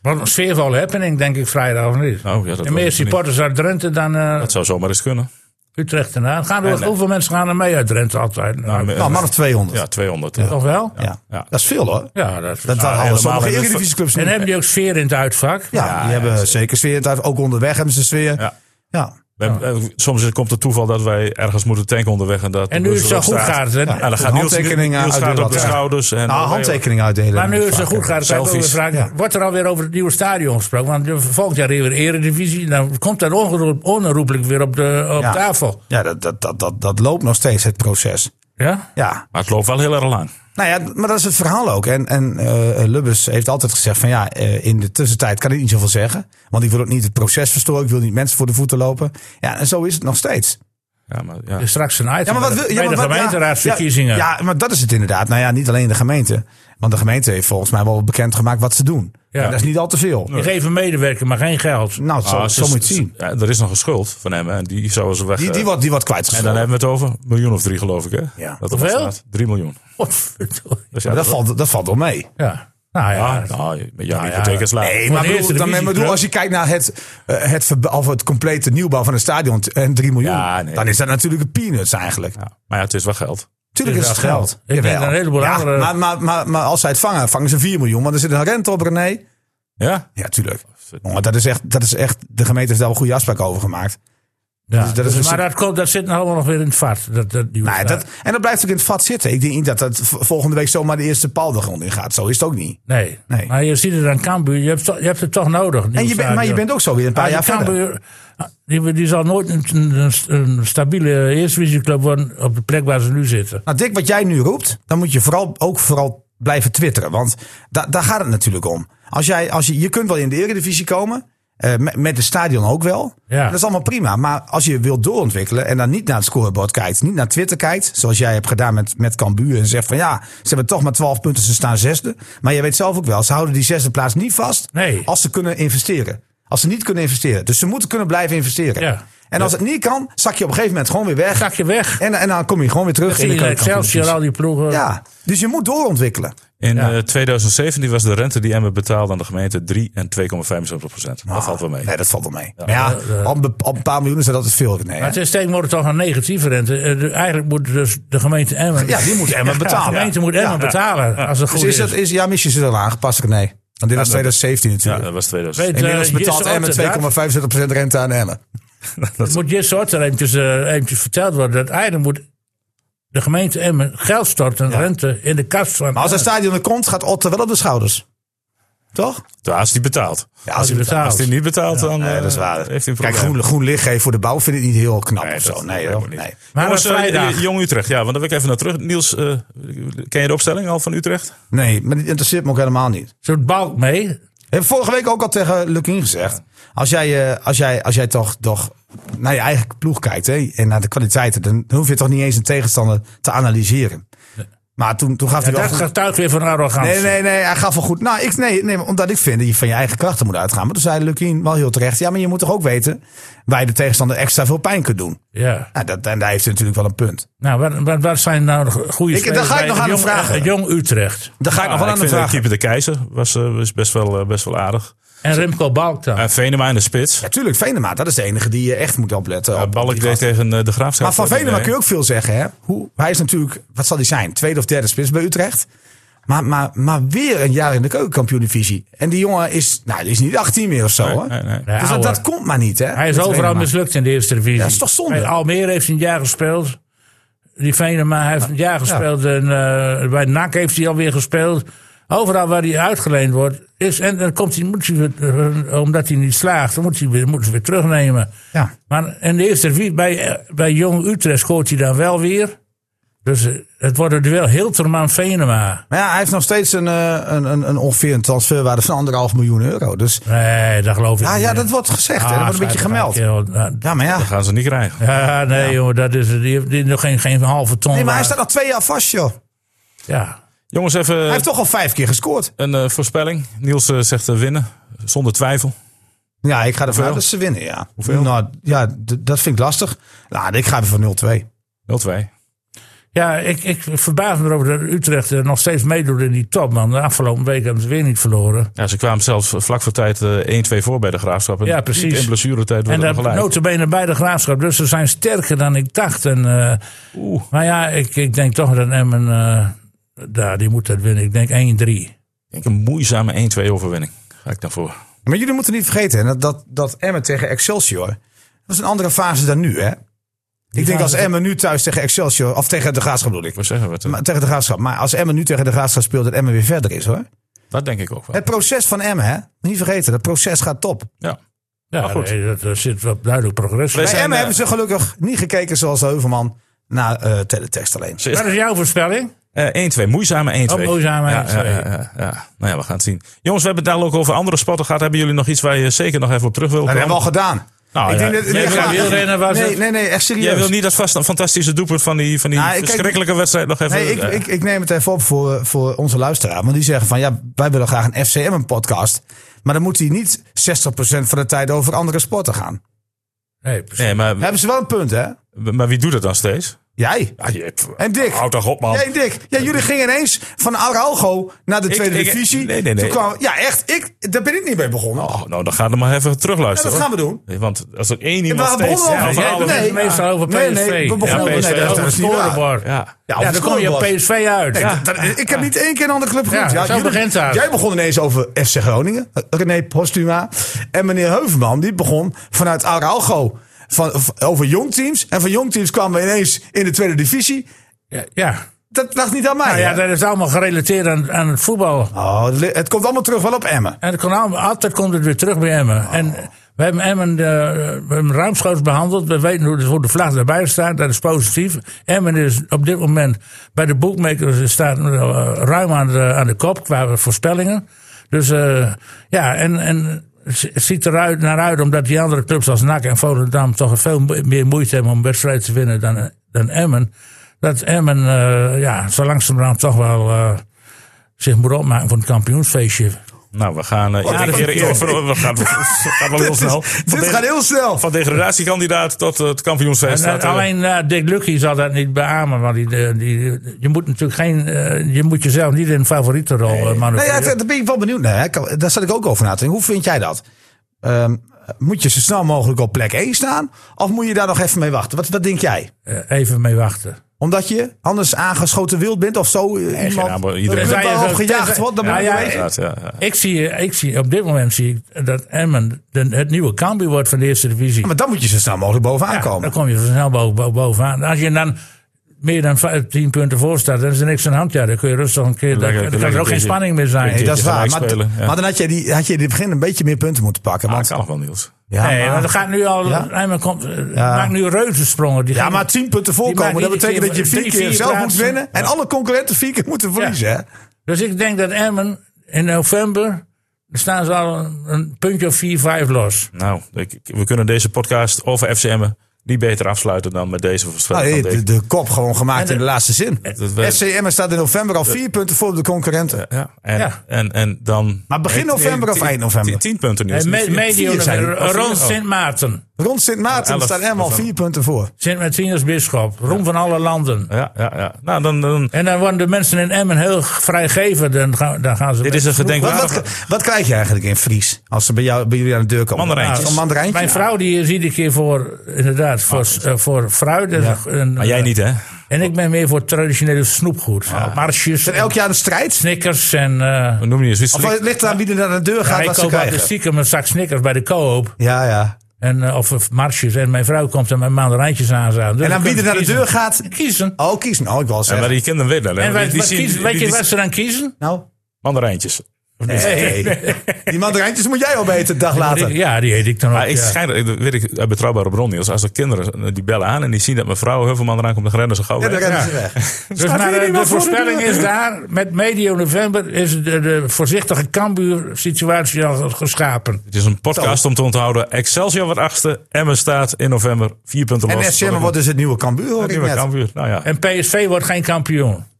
B: Wat een sfeervolle happening, denk ik, vrijdag of niet?
D: Nou, ja, dat
B: en
D: weet
B: meer
D: ik niet.
B: supporters uit Drenthe dan eh,
D: Dat zou zomaar eens kunnen.
B: Utrecht en Aan. Gaan er,
D: En, eh,
B: hoeveel mensen gaan er mee uit Drenthe altijd? Nou,
D: eh,
A: Nou, een man of 200.
D: ja,
A: Ja.
D: 200. eh.
B: Toch wel? Ja,
D: Ja.
A: Dat is veel hoor.
B: dat, is-
A: Dat
B: nou,
A: waren
D: helemaal
A: sommige
D: in het-
A: Eredivisieclubs
B: En
A: niet.
B: hebben die ook sfeer in het uitvak?
A: Ja,
D: Ja,
A: die
D: ja,
A: hebben zeker sfeer. thuis. Ook onderweg hebben ze sfeer. Ja. nou,
D: Ja. We hebben- eh, Soms komt het toeval dat wij ergens moeten tanken onderweg. En, dat de
B: En nu
D: bus
B: het zo
D: erop
B: goed
D: staat.
B: gaat, hè?
D: Ja, dan gaat Niels,
A: Handtekeningen
D: Niels
A: uit
D: gaat
A: de
D: op de
A: lat.
D: schouders. En
A: Nou, handtekeningen uitdelen.
B: Maar nu het zo
A: Vaker.
B: goed gaat, kan ik ook weer
D: Selfies.
B: vragen, wordt er alweer over het nieuwe stadion gesproken? Want volgend jaar weer eredivisie, dan komt dat ongeroep- onherroepelijk weer op, de, op
A: Ja.
B: tafel.
A: Ja, dat, dat, dat, dat, dat loopt nog steeds, het proces.
B: Ja?
A: Ja,
D: Maar het loopt wel heel erg lang.
A: nou ja, maar dat is het verhaal ook. En, en eh, Lubbers heeft altijd gezegd van ja, eh, in de tussentijd kan ik niet zoveel zeggen. Want ik wil ook niet het proces verstoren. Ik wil niet mensen voor de voeten lopen. Ja, en zo is het nog steeds.
D: Ja, maar, ja.
B: Er is Straks een item
A: Ja, maar wat wil, ja,
B: bij
A: maar
B: de
A: wat- ja,
B: gemeenteraadsverkiezingen.
A: Ja, ja, maar dat is het inderdaad. Nou ja, niet alleen de gemeente. Want de gemeente heeft volgens mij wel bekendgemaakt wat ze doen.
B: Ja.
A: En dat is niet al te veel.
B: Je geeft een medewerker, maar geen geld.
A: Nou, zo,
D: Ah,
A: zo
D: ze-
A: moet je het
D: ze-
A: zien.
D: ja, er is nog een schuld van hem hè, en die zouden ze weg.
A: Die, die
D: eh,
A: wordt, die wordt
D: en dan
A: kwijtgescholden.
D: hebben we het over een miljoen of drie, geloof ik. Hè?
A: Ja.
D: Dat er
B: Hoeveel?
D: staat. Drie miljoen.
B: Godverdorie.
D: Dus
A: Maar dat, valt, dat valt wel mee.
B: Ja. Nou ja.
D: Ah, nou, ja, met jouw
B: ja.
D: hypotheek is laag.
A: Nee,
B: Voor
A: maar
B: de eerste
A: bedoel, dan,
B: divisieclub.
A: bedoel, als je kijkt naar het, eh, het, verb- of het complete nieuwbouw van een stadion t- en 3 miljoen,
D: Ja, nee.
A: dan is dat natuurlijk een peanuts eigenlijk.
D: Ja, maar ja, het is wel geld.
A: Tuurlijk
B: is
A: is het
B: wel
A: geld.
B: geld. Ik denk
A: Jawel.
B: dat een heleboel
A: ja,
B: andere-
A: maar, maar, maar, maar als zij het vangen, vangen ze 4 miljoen, want er zit een rente op René.
D: Ja?
A: Ja, tuurlijk. Maar dat is echt, dat is echt de gemeente heeft daar wel een goede afspraak over gemaakt.
B: Ja,
A: Dus dat is
B: dus-
A: een
B: maar dat, komt, dat zit nou allemaal nog weer in het vat. Dat, dat, die
A: Nee,
B: hoeveelheid.
A: Nou, dat, en dat blijft ook in het vat zitten. Ik denk niet dat dat v- volgende week zomaar de eerste paal de grond in gaat. Zo is het ook niet.
B: nee.
A: Nee.
B: Maar je ziet het aan Cambuur. Je hebt, to- je hebt het toch nodig.
A: En je bent, maar je bent ook zo weer
B: Ah,
A: een paar jaar verder.
B: die, die zal nooit een, een, een stabiele eerstevisieclub worden op de plek waar ze nu zitten.
A: Nou, Dick, wat jij nu roept, dan moet je vooral ook vooral blijven twitteren. Want da- daar gaat het natuurlijk om. Als jij, als je, je kunt wel in de Eredivisie komen. eh, met, met de stadion ook wel.
B: Ja.
A: Dat is allemaal prima. Maar als je wilt doorontwikkelen en dan niet naar het scorebord kijkt, niet naar Twitter kijkt, zoals jij hebt gedaan met, met Cambuur en zegt van ja, ze hebben toch maar 12 punten, ze staan zesde. Maar je weet zelf ook wel, ze houden die zesde plaats niet vast
B: Nee.
A: als ze kunnen investeren. Als ze niet kunnen investeren. Dus ze moeten kunnen blijven investeren.
B: Ja.
A: En als het niet kan, zak je op een gegeven moment gewoon weer weg.
B: Zak je weg.
A: En, en dan kom je gewoon weer terug
B: Zie
A: in de
B: je
A: keukenkampioenschap.
B: Excelsior, al die ploegen.
A: Ja, dus je moet doorontwikkelen.
D: In
B: Ja.
D: eh 2017 was de rente die Emmen betaalde aan de gemeente 3 en 2,75 procent.
A: Nou,
D: Dat valt wel mee.
A: Nee, dat valt wel mee. Maar ja, op, een- op een paar miljoen is dat altijd veel. Nee, hè?
B: Maar het is tegenwoordig toch een negatieve rente. Eh, de- Eigenlijk moet dus de gemeente Emmen...
A: Ja, die moet Emmen betalen.
B: De gemeente moet Emmen
A: Ja.
B: betalen, als het goed
A: dus is dat, is, ja, misschien is het al aangepast, René. Want dit was 2017
D: Ja,
A: natuurlijk.
D: dat was
B: Weet-
D: 2000.
A: Inmiddels
B: eh,
A: betaalt
B: Jesse Otter,
A: Emmen 2,75% rente aan Emmen.
B: Het moet je soort er eventjes, eh, eventjes verteld worden. Dat eigenlijk moet de gemeente Emmen geld storten, rente in de kast van.
A: Maar als een
B: Emmen.
A: stadion er komt, gaat Otter wel op de schouders. Toch?
D: Ja, als die betaalt.
A: Ja,
B: Als hij
D: Als
B: betaalt.
D: die niet betaalt, dan
A: Nee,
D: eh,
A: dat is waar.
D: heeft hij een
A: Kijk,
D: probleem.
A: groen, groen licht geven voor de bouw vind ik niet heel knap
D: Nee,
A: of
D: dat-
A: zo. Nee,
D: dat
A: hoor.
D: moet niet.
A: nee.
B: Maar
D: Jongens,
B: dat
D: eh,
B: vrijdag.
D: Jong Utrecht. Ja, want dan wil ik even naar terug. Niels, eh, ken je de opstelling al van Utrecht?
A: nee, maar dit interesseert me ook helemaal niet.
B: Zo'n balk mee.
A: Ik heb vorige week ook al tegen Lukin gezegd. Als jij, eh, als jij, als jij toch, toch naar je eigen ploeg kijkt hè, en naar de kwaliteiten, dan hoef je toch niet eens een tegenstander te analyseren. Maar toen, toen gaf
B: Ja,
A: hij wel
B: dat
A: goed-
B: getuigt weer van arrogantie.
A: Nee, nee, nee, hij gaf wel goed. Nou, ik, nee, nee, omdat ik vind dat je van je eigen krachten moet uitgaan. Maar toen zei Lukin wel heel terecht. Ja, maar je moet toch ook weten waar je de tegenstander extra veel pijn kunt doen.
B: Ja.
A: Nou, dat, en daar heeft hij natuurlijk wel een punt.
B: Nou, wat, wat, wat zijn nou de goede
A: Ik-
B: spelers
A: daar ga ik
B: bij
A: nog aan
B: jong,
A: hem vragen.
B: eh, Jong Utrecht.
A: Daar ga ik nog wel
D: Ah,
A: aan
D: ik
A: de
D: vind
A: vraag.
D: de keeper de Keizer was, eh, was best, wel, eh, best wel aardig.
B: En Remco Balk dan.
D: En Eh, Venema in de spits.
A: Natuurlijk, Venema, dat is de enige die je echt moet opletten.
D: Ja,
A: op- op
D: Balk
A: die
D: deed tegen eh, de Graafschap.
A: Maar van
D: Nee.
A: Venema kun je ook veel zeggen. Hè? Hoe, hij is natuurlijk, wat zal hij zijn? Tweede of derde spits bij Utrecht. Maar, maar, maar weer een jaar in de keukenkampioen-divisie. En die jongen is, nou, die is niet 18 meer of zo. hoor.
D: Nee, nee, nee.
B: Ja,
A: Dus dat,
B: ouwe.
A: dat komt maar niet. Hè,
B: hij is
A: met
B: overal
A: Venema.
B: mislukt in de eerste divisie.
A: Ja, dat is toch zonde?
B: Hij- Almere heeft een jaar gespeeld. Die Venema heeft een jaar gespeeld. En, eh, bij NAC heeft hij alweer gespeeld. Overal waar hij uitgeleend wordt. Is, en dan komt hij, moet hij weer, eh, omdat hij niet slaagt, dan moet hij weer, moet ze weer terugnemen.
A: Ja.
B: Maar in de eerste divisie, bij, eh, bij Jong Utrecht scoort hij dan wel weer. Dus eh, het wordt een duel Hilterman-Venema.
A: Maar ja, hij heeft nog steeds een, eh, een, een, een ongeveer een transferwaarde van anderhalf miljoen euro. Dus
B: Nee, dat geloof ik
A: ja,
B: niet.
A: ja, dat wordt
B: Ah,
A: gezegd. hè. Dat wordt een beetje gemeld.
B: gemeld.
A: Ja, maar ja.
D: Dat gaan ze niet krijgen.
B: Ja, nee, jongen, dat is, die heeft die heeft nog geen, geen halve ton.
A: Nee, maar hij
B: waard.
A: staat nog twee jaar vast, joh.
B: Ja.
D: Jongens, even
A: Hij heeft toch al vijf keer gescoord.
D: een eh, voorspelling. Niels eh, zegt eh, winnen. Zonder twijfel.
A: Ja, ik ga ervan uit dat ze winnen, ja.
D: Hoeveel?
A: Nou, ja, d- dat vind ik lastig. Nou, ik ga weer voor 0-2.
D: 0-2.
B: Ja, ik, ik verbaas me erover dat Utrecht eh, nog steeds meedoet in die top, man. De afgelopen week hebben ze weer niet verloren.
D: Ja, ze kwamen zelfs vlak voor tijd eh 1-2 voor bij de Graafschap. En
B: Ja, precies.
D: In blessuretijd
B: En
D: wordt er
B: dat
D: gelijk.
B: notabene bij de graafschap. Dus ze zijn sterker dan ik dacht. En, eh,
D: Oeh.
B: maar ja, ik, ik denk toch dat Emmen... eh daar, die moet dat winnen. Ik denk 1-3.
D: Ik denk een moeizame 1-2 overwinning. Ga ik daarvoor.
A: Maar jullie moeten niet vergeten hè, dat, dat, dat Emmen tegen Excelsior. Dat is een andere fase dan nu, hè? ik denk
B: fase-
A: als Emmen nu thuis tegen Excelsior. Of tegen de graafschap bedoel ik.
D: Wat zeggen we het?
A: Maar, tegen de graafschap. Maar als Emmen nu tegen de graafschap speelt, dat Emmen weer verder is, hoor.
D: Dat denk ik ook wel.
A: Het proces van Emmen, hè? Niet vergeten, dat proces gaat top.
D: Ja.
B: Ja,
D: Maar goed.
B: nee, dat, er zit wat duidelijk progressie.
D: Wij
A: Bij
D: zijn,
A: Emmen
D: eh,
A: hebben ze gelukkig niet gekeken zoals Heuvelman na eh teletext alleen.
D: Ze is-
B: Wat is jouw voorspelling?
D: Eh 1-2, moeizame 1-2.
B: Oh, moeizame
D: ja,
B: 1-2.
D: ja, ja, ja. Nou ja, we gaan het zien. Jongens, we hebben het daar ook over andere sporten gehad. Hebben jullie nog iets waar je zeker nog even op terug wil
A: Dat
D: komen?
A: hebben we al gedaan.
D: Nou,
A: ik
D: ja.
A: denk dat,
D: Jij
A: nee,
D: wil
A: maar-
B: wielrennen was
A: nee,
B: het.
A: nee, nee, echt serieus.
D: Jij wil niet dat vast een fantastische doelpunt van die, van die
A: Nou, ik kijk-
D: verschrikkelijke wedstrijd nog even...
A: Nee, ik,
D: eh,
A: ik, ik neem het even op voor, eh, voor onze luisteraar. Want die zeggen van ja, wij willen graag een FCM-podcast. Maar dan moet hij niet 60% van de tijd over andere sporten gaan.
B: Nee, precies.
D: Nee, maar,
A: Hebben ze wel een punt, hè?
D: maar wie doet het dan steeds?
A: Jij.
D: Ah, je, pff,
A: En Dick.
D: Houd toch op, man.
A: Jij, Dick. Ja, jullie gingen ineens van Araujo naar de
D: Ik-
A: tweede
D: ik-
A: divisie.
D: nee, nee, nee.
A: Toen kwamen- ja, echt. Ik, daar ben ik niet mee begonnen.
D: Oh, nou, dan gaan we maar even
A: Ja,
D: terugluisteren.
A: dat gaan we doen.
D: hoor. Want als er één iemand
A: we begonnen
D: steeds...
A: over-
D: over
A: jij
D: alles-
A: nee.
B: nee, meestal over PSV.
A: Nee, nee, we begonnen-
B: ja,
D: nee,
B: PSV,
D: dat
B: over
A: is niet waar.
B: scorebord.
D: Ja.
A: Ja,
B: Ja, dan kom je op
A: scorebord.
B: PSV uit.
A: Ja, dat- ik heb niet één keer een andere club genoemd.
B: Ja, zo
A: jullie-
B: begint het.
A: Jij begon ineens over FC Groningen, René Postuma. En meneer Heuvelman, die begon vanuit Araujo van, v- over jongteams. En van jongteams kwamen we ineens in de tweede divisie.
B: Ja, ja.
A: Dat lag niet aan mij.
B: Nou ja,
A: hè?
B: dat is allemaal gerelateerd aan, aan het voetbal.
A: Oh, het li- het komt allemaal terug wel op Emmen.
B: En het kon allemaal- altijd komt het weer terug bij Emmen. En we hebben Emmen, eh, we hebben ruimschoots behandeld. We weten hoe de, hoe de vlag erbij staat. Dat is positief. Emmen is op dit moment bij de boekmakers staat eh, ruim aan de, aan de kop qua voorspellingen. Dus eh, ja, en, en het ziet eruit naar uit omdat die andere clubs als NAC en Volendam toch veel mo- meer moeite hebben om wedstrijden te winnen dan, dan Emmen. Dat Emmen, eh, ja, zo langzamerhand toch wel eh, zich moet opmaken voor een kampioensfeestje.
D: Nou, we gaan... eh,
A: dat
D: eerlijk-
A: is
D: eerlijk- eerlijk- we gaan, we gaan wel heel snel. Van,
A: Dit
D: de-
A: gaat heel snel.
D: van degradatiekandidaat tot eh, het kampioensfeest.
B: En, eh,
D: staat, eh,
B: alleen eh, Dick Lucky zal dat niet beamen. Want die, die, die- je moet natuurlijk geen. eh, je moet jezelf niet in een favoriete rol eh,
A: Nee,
B: manoeuvreren.
A: ja, daar ben ik wel benieuwd naar. hè. Kan- Daar zat ik ook over na te denken. Hoe vind jij dat? Ehm, moet je zo snel mogelijk op plek 1 staan? Of moet je daar nog even mee wachten? Wat, wat denk jij?
B: Eh, even mee wachten.
A: Omdat je anders aangeschoten wild bent of zo? eh, iemand,
D: naam, maar iedereen-
A: dat
B: Tenzij je
A: er
B: zo-
A: op gejaagd
B: tenzij-
A: wordt, dan
B: Ja,
A: moet je
B: ja,
A: weten.
D: inderdaad, ja, ja.
B: Ik zie, eh, ik zie, op dit moment zie ik dat Emmen de- het nieuwe Cambuur wordt van de eerste divisie.
A: Maar dan moet je zo snel mogelijk bovenaan
B: Ja,
A: komen.
B: dan kom je zo snel bo- bo- bovenaan. Als je dan meer dan vijf- tien punten voor staat, dan is er niks aan de hand. Ja, dan kun je rustig een keer. Dan,
D: Lekker-
B: dan kan er
D: lekker
B: ook geen
D: beetje-
B: spanning meer zijn.
A: Nee, dat is
D: je
A: waar.
D: gelijk
A: Maar,
D: spelen, ja.
A: maar dan had je, die, had je in het begin een beetje meer punten moeten pakken.
D: Ah,
A: Want,
D: kan nog wel, Niels.
A: ja,
B: nee,
A: maar,
B: want het gaat nu al.
A: Ja.
B: Emmen komt, eh, maakt nu reuzensprongen. Die
A: ja,
B: gaan-
A: maar tien punten
B: maakt
A: voorkomen, dat
B: iedere
A: betekent
B: keer
A: dat je vier
B: drie,
A: keer
B: vier
A: zelf moet
B: plaatsen.
A: winnen. En alle concurrenten vier keer moeten verliezen. hè?
B: Dus ik denk dat Emmen in november. dan staan ze al een, een puntje of 4-5 los.
D: Nou, ik- ik- we kunnen deze podcast over FCM'en niet beter afsluiten dan met deze
A: Nou,
D: voorspelling. van
A: de,
D: Dick.
A: de kop gewoon gemaakt
B: de-
A: in de laatste zin.
D: dat we-
A: FCM staat in november al vier punten voor op de concurrenten.
D: Ja, en,
B: Ja.
D: En, en dan...
A: Maar begin november of eind november?
D: Tien, tien punten, Niels.
B: En Eh, me, eh,
D: Niet vier.
B: medio
A: zijn die.
B: november, rond
D: Oh.
B: Sint Maarten.
A: Rond Sint Maarten
D: Elf
A: staat hem al
D: november.
A: vier punten voor.
B: Sint Martinus Bisschop. Roem van alle landen.
D: Ja, ja, ja. Nou, dan... dan
B: En dan worden de mensen in Emmen heel vrijgevend. Dan gaan, dan gaan ze.
D: dit is een
A: Wat,
D: gedenkwaardig...
A: wat, wat krijg je eigenlijk in Fries als ze bij, jou, bij jullie aan de deur komen?
D: Mandarijntjes.
A: Een mandarijntje?
B: Mijn vrouw die is iedere keer voor, inderdaad, voor, eh, voor fruit. en- En,
D: Ah, Maar jij niet, hè?
B: En ik ben meer voor traditionele snoepgoed. Marsjes,
A: Is er elk jaar een strijd?
B: snickers en... eh
D: We noemen je zoiets.
A: Of het ligt eraan wie er naar de deur gaat
B: ik
A: wat ze
B: koop altijd
A: krijgen?
B: stiekem een zak snickers bij de co-op.
A: Ja, ja.
B: En, eh, of, of marsjes. En mijn vrouw komt er met maanderijntjes aan. Zo. Dus
A: En dan
B: we
A: wie er
B: kunnen
A: naar de
B: kiezen.
A: deur gaat...
B: Kiezen.
A: Oh, kiezen. Oh, ik wil
D: Ja, maar
A: zeggen.
D: die kinderen weten dat. hè?
B: En
D: Die-
B: wij,
D: die
B: wij
D: zien-
B: kiezen,
D: die-
B: weet je
D: die-
B: wat ze dan kiezen?
A: Nou,
D: Mandarijntjes.
A: nee. Die mandarijntjes moet jij al weten, een dag later.
B: Die- Ja, die eet ik dan ook.
D: Maar ik
B: ja.
D: schijn, dat weet ik uit betrouwbare bron, Niels. Als de kinderen eh, die bellen aan en die zien dat mevrouw Heuvelman eraan komt, dan rennen ze gauw
A: Ja, dan
D: weg.
A: rennen ze weg.
B: Dus maar, eh, de voorspelling is daar, met medio november is de, de voorzichtige Cambuur-situatie al geschapen.
D: Het is een podcast om te onthouden. Excelsior wordt achtste. Emmen staat in november vier punten los.
A: En FCM wordt dus het nieuwe Cambuur, hoor ik
D: nieuwe
A: net.
D: kampioen. Nou ja.
B: En PSV wordt geen kampioen.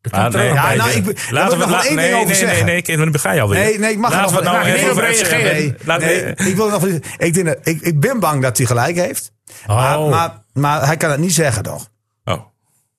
B: Dat kan
D: Ah,
B: er
D: nee.
B: ook
A: Ja,
B: bij
A: nou, ik,
B: zijn.
A: be- daar wil ik nog wel
D: laat-
A: één
D: nee,
A: ding over
D: nee,
A: zeggen.
D: Nee, nee, nee, dan begrijp je alweer.
A: Nee, nee, ik mag er
D: Laten
A: nog
D: we het
A: mag
D: nou
A: ik
D: even
A: niet
D: over
B: op
D: FCM.
B: reageren?
A: Nee,
D: Laat-
A: nee, ik, wil nog, ik, denk dat, ik, ik ben bang dat hij gelijk heeft. Maar,
B: Oh.
A: maar, maar hij kan het niet zeggen, toch?
D: Oh,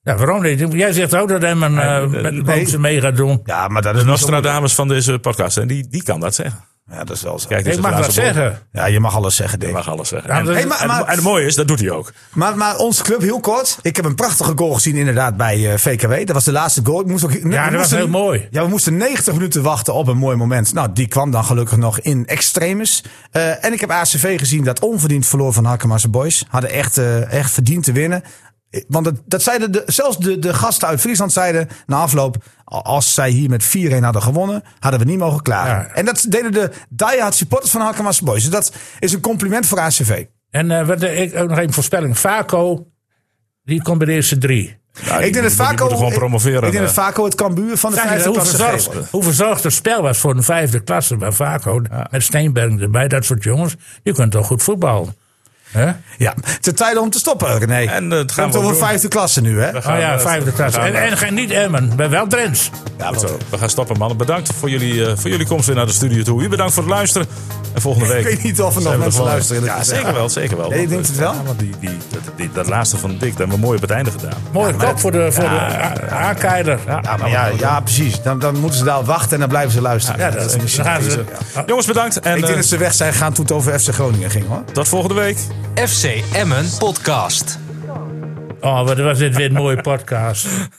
B: Ja, waarom niet? Jij zegt ook dat Emmen eh,
D: Nee,
B: met de
A: nee.
B: bovenste mee gaat doen.
A: Ja, maar dat is
D: de
A: niet zo-
D: Nostradamus van deze podcast. En die, die kan dat zeggen.
A: Ja, dat is wel zo.
D: Kijk, dit is
B: Ik
D: het
B: mag dat
D: laatste woord.
B: zeggen.
A: Ja, je mag alles zeggen,
D: Je
A: Dick.
D: mag alles zeggen.
B: Ja,
D: En-
B: dat-
D: en-
A: Hey, maar-
D: en-
A: maar-
D: En het mooie is, dat doet hij ook.
A: Maar, maar onze club, heel kort. Ik heb een prachtige goal gezien inderdaad bij eh, VKW. Dat was de laatste goal. Ik moest ook,
B: dat was heel mooi.
A: Ja, we moesten 90 minuten wachten op een mooi moment. Nou, die kwam dan gelukkig nog in extremis. Eh, en ik heb ACV gezien dat onverdiend verloor van Hakkema's Boys. Hadden echt, eh, echt verdiend te winnen. Eh, Want dat, dat zeiden de, zelfs de, de gasten uit Friesland zeiden na afloop... a- als zij hier met 4-1 hadden gewonnen, hadden we niet mogen klagen.
B: Ja.
A: En dat deden de diehard supporters van Hakkema's Boys. Dus dat is een compliment voor ACV.
B: En eh, wat, eh, ik ook nog even voorspelling. Vaco, Die komt bij de eerste drie.
D: Ja,
A: Ik denk dat
D: Nou, die moeten
A: Vaco...
D: gewoon promoveren.
A: Ik denk dat
D: eh.
A: Vaco het Cambuur van de
B: Zag je
A: vijfde
B: dat hoe,
A: klasse
B: verzorgd,
A: geeft.
B: hoe verzorgd het spel was voor een vijfde klasse bij Vaco. Met Steenberg erbij, dat soort jongens. Die kunnen toch goed voetballen. Hè?
A: Ja, het is tijd om te stoppen, René.
D: En, eh,
A: we
D: het gaan
A: hebben
D: we
A: het over
D: doen.
A: vijfde klasse nu, hè?
B: Oh ja,
D: eh,
B: vijfde
D: we
B: klasse.
D: gaan,
B: En,
D: eh,
B: en geen- niet Emmen, maar wel Drents.
A: Ja,
D: Goed zo. We gaan stoppen, mannen. Bedankt voor jullie, eh, voor jullie komst weer naar de studio toe. U bedankt voor het luisteren. En volgende week.
A: Ik weet niet of er nog
D: zijn we
A: mensen
D: gewoon-
A: luisteren, eerlijk
D: Ja,
A: gezegd.
D: zeker wel, zeker wel.
A: Nee, ik denk het wel.
D: Ja, want die, die, dat, die- dat laatste van Dick, dat hebben we mooi op het einde gedaan.
B: Mooie kop voor de, voor de a- aankeiler. Ja,
A: Ja, maar ja, ja, precies. Dan, dan moeten ze daar wachten en dan blijven ze luisteren.
B: dat is dan gaan ze- Ah,
D: Jongens, bedankt. En
A: Ik
D: eh,
A: denk dat ze weg zijn gaan toen het over FC Groningen ging, hoor.
D: tot volgende week.
C: FC Emmen Podcast.
B: Oh, wat was dit weer een mooie podcast.